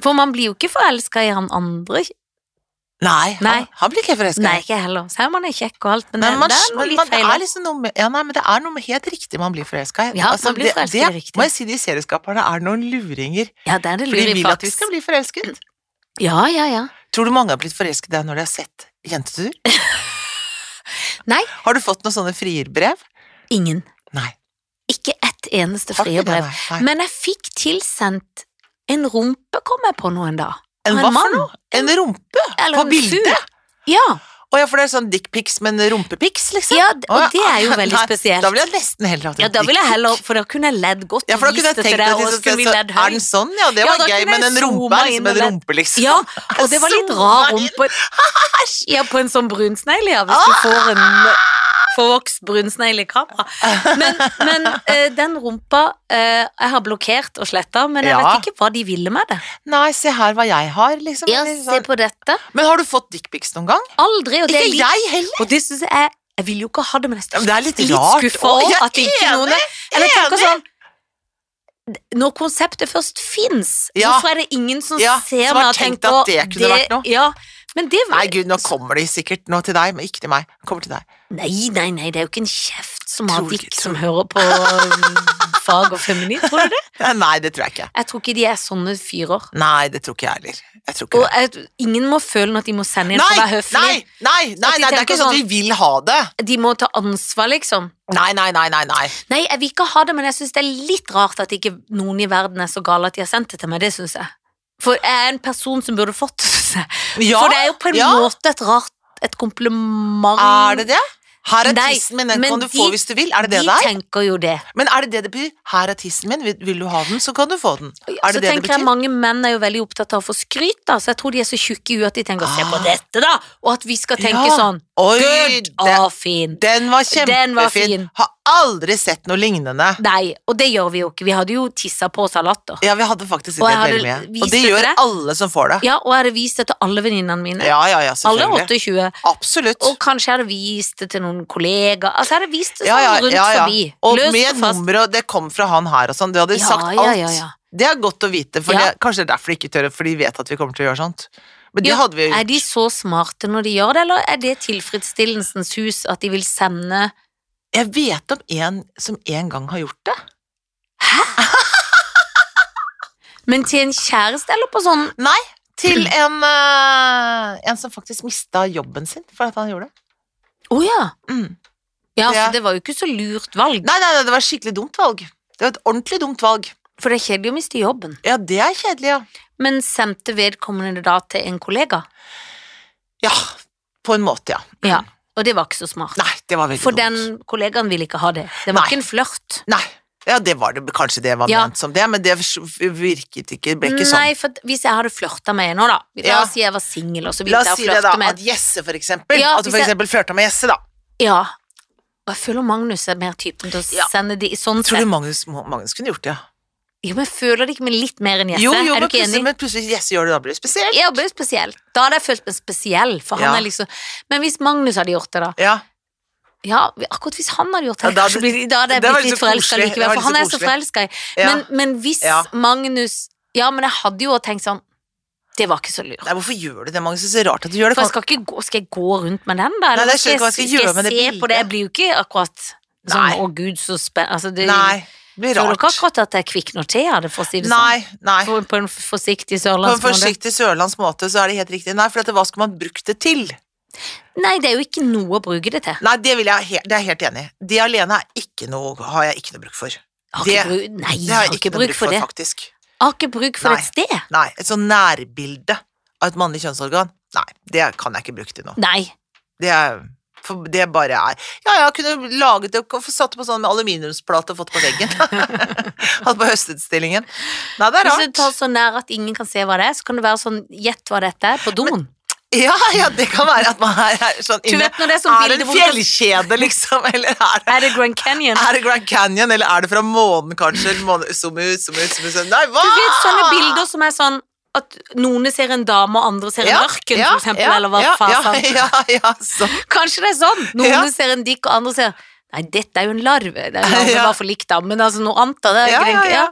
[SPEAKER 2] For man blir jo ikke forelska i han andre.
[SPEAKER 1] Nei,
[SPEAKER 2] Nei.
[SPEAKER 1] Han, han blir ikke forelska.
[SPEAKER 2] Nei, ikke jeg heller. Selv om han er kjekk og alt, men,
[SPEAKER 1] Men, man,
[SPEAKER 2] det er noe
[SPEAKER 1] men
[SPEAKER 2] litt
[SPEAKER 1] man, det
[SPEAKER 2] feil.
[SPEAKER 1] er liksom noe med, ja, nei, men det er noe med helt riktig man blir forelska i. Altså,
[SPEAKER 2] Ja, man blir
[SPEAKER 1] det-
[SPEAKER 2] forelsket i
[SPEAKER 1] det-
[SPEAKER 2] riktig.
[SPEAKER 1] Må jeg si de serieskaperne er noen luringer.
[SPEAKER 2] Ja, det er det
[SPEAKER 1] For de
[SPEAKER 2] lurer i
[SPEAKER 1] vil at vi skal
[SPEAKER 2] faktisk.
[SPEAKER 1] bli forelsket.
[SPEAKER 2] Ja, ja, ja.
[SPEAKER 1] Tror du mange har blitt forelsket i deg når de har sett Jentetur?
[SPEAKER 2] Nei.
[SPEAKER 1] Har du fått noen sånne frierbrev?
[SPEAKER 2] Ingen.
[SPEAKER 1] Nei.
[SPEAKER 2] Ikke ett eneste
[SPEAKER 1] Har du ikke det?
[SPEAKER 2] frierbrev.
[SPEAKER 1] Nei, nei.
[SPEAKER 2] Men jeg fikk tilsendt en rumpe, kom jeg på nå en dag.
[SPEAKER 1] En
[SPEAKER 2] en
[SPEAKER 1] hva for
[SPEAKER 2] mann.
[SPEAKER 1] noe? En rumpe?
[SPEAKER 2] Eller
[SPEAKER 1] På
[SPEAKER 2] en
[SPEAKER 1] bildet?
[SPEAKER 2] fugl. Ja,
[SPEAKER 1] Å ja, for det er sånn dickpics, men rumpepics, liksom?
[SPEAKER 2] ja, d-
[SPEAKER 1] Å,
[SPEAKER 2] og det er jo
[SPEAKER 1] ja.
[SPEAKER 2] veldig
[SPEAKER 1] Nei,
[SPEAKER 2] spesielt.
[SPEAKER 1] Da ville jeg nesten heller hatt
[SPEAKER 2] Ja, da ville jeg heller, for da kunne jeg ledd godt
[SPEAKER 1] Ja, for da
[SPEAKER 2] og
[SPEAKER 1] kunne
[SPEAKER 2] vist
[SPEAKER 1] jeg
[SPEAKER 2] det til
[SPEAKER 1] tenkt at
[SPEAKER 2] deg, og
[SPEAKER 1] hvis
[SPEAKER 2] så
[SPEAKER 1] jeg
[SPEAKER 2] kunne vi
[SPEAKER 1] skal-
[SPEAKER 2] ledd
[SPEAKER 1] Er den
[SPEAKER 2] høyt.
[SPEAKER 1] sånn? Ja, det
[SPEAKER 2] Ja,
[SPEAKER 1] var
[SPEAKER 2] da
[SPEAKER 1] gøy,
[SPEAKER 2] kunne
[SPEAKER 1] men
[SPEAKER 2] jeg
[SPEAKER 1] en rumpe
[SPEAKER 2] zooma
[SPEAKER 1] er
[SPEAKER 2] inn
[SPEAKER 1] liksom
[SPEAKER 2] og
[SPEAKER 1] en
[SPEAKER 2] ledd.
[SPEAKER 1] rumpe, liksom.
[SPEAKER 2] Ja, og det var litt
[SPEAKER 1] Sånn
[SPEAKER 2] rar
[SPEAKER 1] Zooma inn.
[SPEAKER 2] rumpe. Ja, på en sånn brunsnegl, ja, hvis du får en forvokst brunsnegl i kamera. Men, men eh, den rumpa eh, jeg har blokkert og sletta, men jeg
[SPEAKER 1] Ja.
[SPEAKER 2] vet ikke hva de ville med det.
[SPEAKER 1] Nei, se her hva jeg har, liksom.
[SPEAKER 2] Ja,
[SPEAKER 1] eller
[SPEAKER 2] se
[SPEAKER 1] sånn.
[SPEAKER 2] på dette.
[SPEAKER 1] Men har du fått dickpics noen gang?
[SPEAKER 2] Aldri, og det er
[SPEAKER 1] Ikke
[SPEAKER 2] litt
[SPEAKER 1] jeg heller!
[SPEAKER 2] Og det synes jeg er Jeg vil jo ikke ha det, men jeg
[SPEAKER 1] Ja, men det er litt rart
[SPEAKER 2] litt
[SPEAKER 1] også.
[SPEAKER 2] skuffa over
[SPEAKER 1] Jeg er
[SPEAKER 2] at ikke noen
[SPEAKER 1] enig,
[SPEAKER 2] Eller jeg tenker
[SPEAKER 1] enig.
[SPEAKER 2] sånn Når konseptet først fins,
[SPEAKER 1] Ja.
[SPEAKER 2] hvorfor er det ingen som
[SPEAKER 1] Ja,
[SPEAKER 2] ser
[SPEAKER 1] som
[SPEAKER 2] meg
[SPEAKER 1] har
[SPEAKER 2] og
[SPEAKER 1] tenkt
[SPEAKER 2] tenker
[SPEAKER 1] at det kunne vært noe?
[SPEAKER 2] Ja, men det
[SPEAKER 1] Nei, gud, nå kommer de sikkert nå til deg, men ikke til meg. Kommer til deg.
[SPEAKER 2] nei, nei, nei, det er jo ikke en kjeft som
[SPEAKER 1] Tror
[SPEAKER 2] har
[SPEAKER 1] du
[SPEAKER 2] dikt
[SPEAKER 1] ikke-
[SPEAKER 2] som hører på eh, fag og feminist, tror du det?
[SPEAKER 1] Nei, det tror jeg ikke.
[SPEAKER 2] Jeg tror ikke de er sånne fyrer.
[SPEAKER 1] Nei, det tror ikke jeg heller. Jeg tror ikke
[SPEAKER 2] Og
[SPEAKER 1] det.
[SPEAKER 2] jeg, ingen må føle at de må
[SPEAKER 1] Nei,
[SPEAKER 2] sende inn for å
[SPEAKER 1] nei,
[SPEAKER 2] være
[SPEAKER 1] nei,
[SPEAKER 2] høflige.
[SPEAKER 1] nei, nei,
[SPEAKER 2] At de
[SPEAKER 1] det er
[SPEAKER 2] tenker
[SPEAKER 1] ikke sånn at vi vil ha det.
[SPEAKER 2] De må ta ansvar, liksom.
[SPEAKER 1] Nei, nei, nei, nei, nei.
[SPEAKER 2] Nei, jeg vil ikke ha det, men jeg syns det er litt rart at ikke noen i verden er så gale at de har sendt det til meg. Det syns jeg. For jeg er en person som burde fått det. synes jeg.
[SPEAKER 1] Ja,
[SPEAKER 2] For det er jo på en
[SPEAKER 1] ja.
[SPEAKER 2] måte et rart et kompliment.
[SPEAKER 1] Er det det? Her er
[SPEAKER 2] Nei,
[SPEAKER 1] tissen min, den
[SPEAKER 2] men
[SPEAKER 1] kan du
[SPEAKER 2] de-
[SPEAKER 1] få hvis du vil. Er det det
[SPEAKER 2] de
[SPEAKER 1] det er?
[SPEAKER 2] tenker jo det.
[SPEAKER 1] Men er det det det betyr? Her er tissen min, vil, vil du ha den, så kan du få den. Er
[SPEAKER 2] så
[SPEAKER 1] det det det
[SPEAKER 2] tenker jeg
[SPEAKER 1] betyr?
[SPEAKER 2] mange menn er jo veldig opptatt av å få skryt, da, så jeg tror de er så tjukke i huet at de tenker 'se på
[SPEAKER 1] Ah.
[SPEAKER 2] dette', da, og at vi skal tenke
[SPEAKER 1] Ja.
[SPEAKER 2] sånn
[SPEAKER 1] Oi,
[SPEAKER 2] 'good',
[SPEAKER 1] den,
[SPEAKER 2] å, fin'.
[SPEAKER 1] den var
[SPEAKER 2] Den var
[SPEAKER 1] kjempefin.
[SPEAKER 2] fin.
[SPEAKER 1] Har aldri sett noe lignende.
[SPEAKER 2] Nei, og det gjør vi jo ikke. Vi hadde jo tissa på oss av latter.
[SPEAKER 1] Ja, vi hadde faktisk
[SPEAKER 2] Og
[SPEAKER 1] sett
[SPEAKER 2] jeg
[SPEAKER 1] det veldig mye.
[SPEAKER 2] hadde
[SPEAKER 1] Og
[SPEAKER 2] vist
[SPEAKER 1] det
[SPEAKER 2] det til
[SPEAKER 1] gjør
[SPEAKER 2] deg.
[SPEAKER 1] alle som får det.
[SPEAKER 2] Ja, og jeg hadde vist det til alle venninnene mine.
[SPEAKER 1] Ja, ja, ja,
[SPEAKER 2] alle
[SPEAKER 1] selvfølgelig.
[SPEAKER 2] 28.
[SPEAKER 1] Absolutt.
[SPEAKER 2] Og kanskje jeg hadde vist det til noen kollegaer. Altså, jeg hadde vist det sånn
[SPEAKER 1] Ja, ja,
[SPEAKER 2] rundt
[SPEAKER 1] ja, ja.
[SPEAKER 2] forbi.
[SPEAKER 1] Og
[SPEAKER 2] Løst
[SPEAKER 1] med
[SPEAKER 2] fast.
[SPEAKER 1] nummer, og det kom fra han her og sånn. Du hadde
[SPEAKER 2] Ja,
[SPEAKER 1] sagt alt.
[SPEAKER 2] ja, ja, ja.
[SPEAKER 1] Det er godt å vite, for
[SPEAKER 2] Ja.
[SPEAKER 1] det, kanskje det er derfor de ikke tør, for de vet at vi kommer til å gjøre sånt. Men det
[SPEAKER 2] Ja,
[SPEAKER 1] hadde vi jo
[SPEAKER 2] Er de så smarte når de gjør det, eller er det tilfredsstillelsens hus at de vil sende
[SPEAKER 1] Jeg vet om en som en gang har gjort det.
[SPEAKER 2] Men til en kjæreste, eller på sånn
[SPEAKER 1] Nei, til en, eh, en som faktisk mista jobben sin for at han gjorde det.
[SPEAKER 2] Å ja.
[SPEAKER 1] Mm.
[SPEAKER 2] Ja,
[SPEAKER 1] Ja.
[SPEAKER 2] for det var jo ikke så lurt valg.
[SPEAKER 1] Nei, nei, nei, det var et skikkelig dumt valg. Det var et ordentlig dumt valg.
[SPEAKER 2] For det er kjedelig å miste jobben.
[SPEAKER 1] Ja, det er kjedelig, ja.
[SPEAKER 2] Men sendte vedkommende det da til en kollega?
[SPEAKER 1] Ja, på en måte, ja.
[SPEAKER 2] Ja. Og det var ikke så smart.
[SPEAKER 1] Mm. Nei, det var veldig
[SPEAKER 2] For
[SPEAKER 1] dumt.
[SPEAKER 2] den kollegaen ville ikke ha det. Det var
[SPEAKER 1] Nei.
[SPEAKER 2] ikke en flørt.
[SPEAKER 1] Nei. Ja, det var det, kanskje det var
[SPEAKER 2] Ja.
[SPEAKER 1] ment som det, men det virket ikke, ble ikke sånn.
[SPEAKER 2] Nei, for at hvis jeg hadde flørta med en nå, da La
[SPEAKER 1] Ja.
[SPEAKER 2] oss si jeg var singel, og så
[SPEAKER 1] La
[SPEAKER 2] begynte
[SPEAKER 1] oss
[SPEAKER 2] jeg å
[SPEAKER 1] si det, da,
[SPEAKER 2] flørte med
[SPEAKER 1] at
[SPEAKER 2] en
[SPEAKER 1] Jesse, for eksempel.
[SPEAKER 2] Ja,
[SPEAKER 1] at du
[SPEAKER 2] hvis
[SPEAKER 1] for
[SPEAKER 2] jeg-
[SPEAKER 1] eksempel flørta med Jesse, da.
[SPEAKER 2] Ja. Og jeg føler Magnus er mer typen til å
[SPEAKER 1] Ja.
[SPEAKER 2] sende de sånn
[SPEAKER 1] Tror
[SPEAKER 2] sett.
[SPEAKER 1] du Magnus, Magnus kunne gjort det, ja?
[SPEAKER 2] Jo, men jeg føler det ikke, men litt mer enn Jesse.
[SPEAKER 1] Jo, jo,
[SPEAKER 2] er
[SPEAKER 1] men
[SPEAKER 2] du ikke
[SPEAKER 1] plutselig,
[SPEAKER 2] enig?
[SPEAKER 1] men plutselig Jesse gjør det, da blir det spesielt.
[SPEAKER 2] Jeg ble spesiell. Da hadde jeg følt meg spesiell, for
[SPEAKER 1] Ja.
[SPEAKER 2] han er liksom Men hvis Magnus hadde gjort det, da
[SPEAKER 1] Ja.
[SPEAKER 2] Ja, akkurat hvis han hadde gjort det,
[SPEAKER 1] Ja, da hadde-
[SPEAKER 2] så blir- da hadde jeg
[SPEAKER 1] det var
[SPEAKER 2] blitt
[SPEAKER 1] litt
[SPEAKER 2] litt
[SPEAKER 1] så
[SPEAKER 2] forelska
[SPEAKER 1] koselig. Det
[SPEAKER 2] likevel,
[SPEAKER 1] var litt
[SPEAKER 2] for han er
[SPEAKER 1] så
[SPEAKER 2] så forelska i
[SPEAKER 1] ja.
[SPEAKER 2] men, men hvis
[SPEAKER 1] Ja.
[SPEAKER 2] Magnus Ja, men jeg hadde jo tenkt sånn Det var ikke så lurt.
[SPEAKER 1] Nei, hvorfor gjør du det, Magnus? Det er så rart at du gjør det.
[SPEAKER 2] For jeg skal, ikke gå, skal jeg gå rundt med den, da? Eller
[SPEAKER 1] det skjønner jeg ikke hva jeg skal gjøre med det
[SPEAKER 2] se på
[SPEAKER 1] bildet.
[SPEAKER 2] det? Jeg blir jo ikke akkurat
[SPEAKER 1] Nei.
[SPEAKER 2] sånn 'Å, gud, så spennende'. Altså, det,
[SPEAKER 1] Nei, det blir
[SPEAKER 2] Føler ikke
[SPEAKER 1] rart.
[SPEAKER 2] akkurat at jeg kvikner til av det, for å si det
[SPEAKER 1] Nei, nei.
[SPEAKER 2] sånn. På, på en forsiktig
[SPEAKER 1] På en
[SPEAKER 2] sørlandsmåte.
[SPEAKER 1] forsiktig sørlandsk måte så er det helt riktig. Nei, for dette, hva skulle man brukt det til?
[SPEAKER 2] Nei, det er jo ikke noe å bruke det til.
[SPEAKER 1] Nei, det, vil jeg, he- det er jeg helt enig i. Det alene er ikke noe, har jeg ikke noe bruk for.
[SPEAKER 2] Jeg Har ikke
[SPEAKER 1] Det-
[SPEAKER 2] bruk, nei,
[SPEAKER 1] Det
[SPEAKER 2] jeg
[SPEAKER 1] har
[SPEAKER 2] har
[SPEAKER 1] jeg
[SPEAKER 2] ikke
[SPEAKER 1] ikke noe
[SPEAKER 2] bruk for det.
[SPEAKER 1] faktisk.
[SPEAKER 2] Jeg har ikke bruk for
[SPEAKER 1] Nei.
[SPEAKER 2] et sted.
[SPEAKER 1] Nei, et sånn nærbilde av et mannlig kjønnsorgan. Nei, det kan jeg ikke bruke til noe.
[SPEAKER 2] Nei.
[SPEAKER 1] Det er For det bare er Ja, ja, kunne laget det og satt det på sånn med aluminiumsplate og fått på veggen. Hatt på høstutstillingen. Nei, det er
[SPEAKER 2] Hvis du
[SPEAKER 1] rart.
[SPEAKER 2] tar så nær at ingen kan se hva det er, så kan det være sånn Gjett hva dette er, på doen.
[SPEAKER 1] Ja, ja, det kan være at man her er sånn
[SPEAKER 2] Du
[SPEAKER 1] inne.
[SPEAKER 2] vet når det er sånn
[SPEAKER 1] Er det
[SPEAKER 2] bilde
[SPEAKER 1] en
[SPEAKER 2] hvor du kan-
[SPEAKER 1] fjellkjede, liksom? Eller er det
[SPEAKER 2] Er det Grand Canyon?
[SPEAKER 1] er det Grand Canyon, eller er det fra månen, kanskje? Månen, zoom ut, zoom ut, zoom ut. zoom- Nei, hva?
[SPEAKER 2] Du vet sånne bilder som er sånn at noen ser en dame, og andre ser en ørken, for eksempel, eller hva
[SPEAKER 1] ja,
[SPEAKER 2] faen.
[SPEAKER 1] ja, ja, ja, sånn.
[SPEAKER 2] Kanskje det er sånn. Noen
[SPEAKER 1] Ja.
[SPEAKER 2] ser en dikk, og andre ser Nei, dette er jo en larve. Det er en larve
[SPEAKER 1] Ja.
[SPEAKER 2] var for likt, da, men altså noe annet. da, Det er
[SPEAKER 1] Ja,
[SPEAKER 2] ikke-
[SPEAKER 1] ja, ja.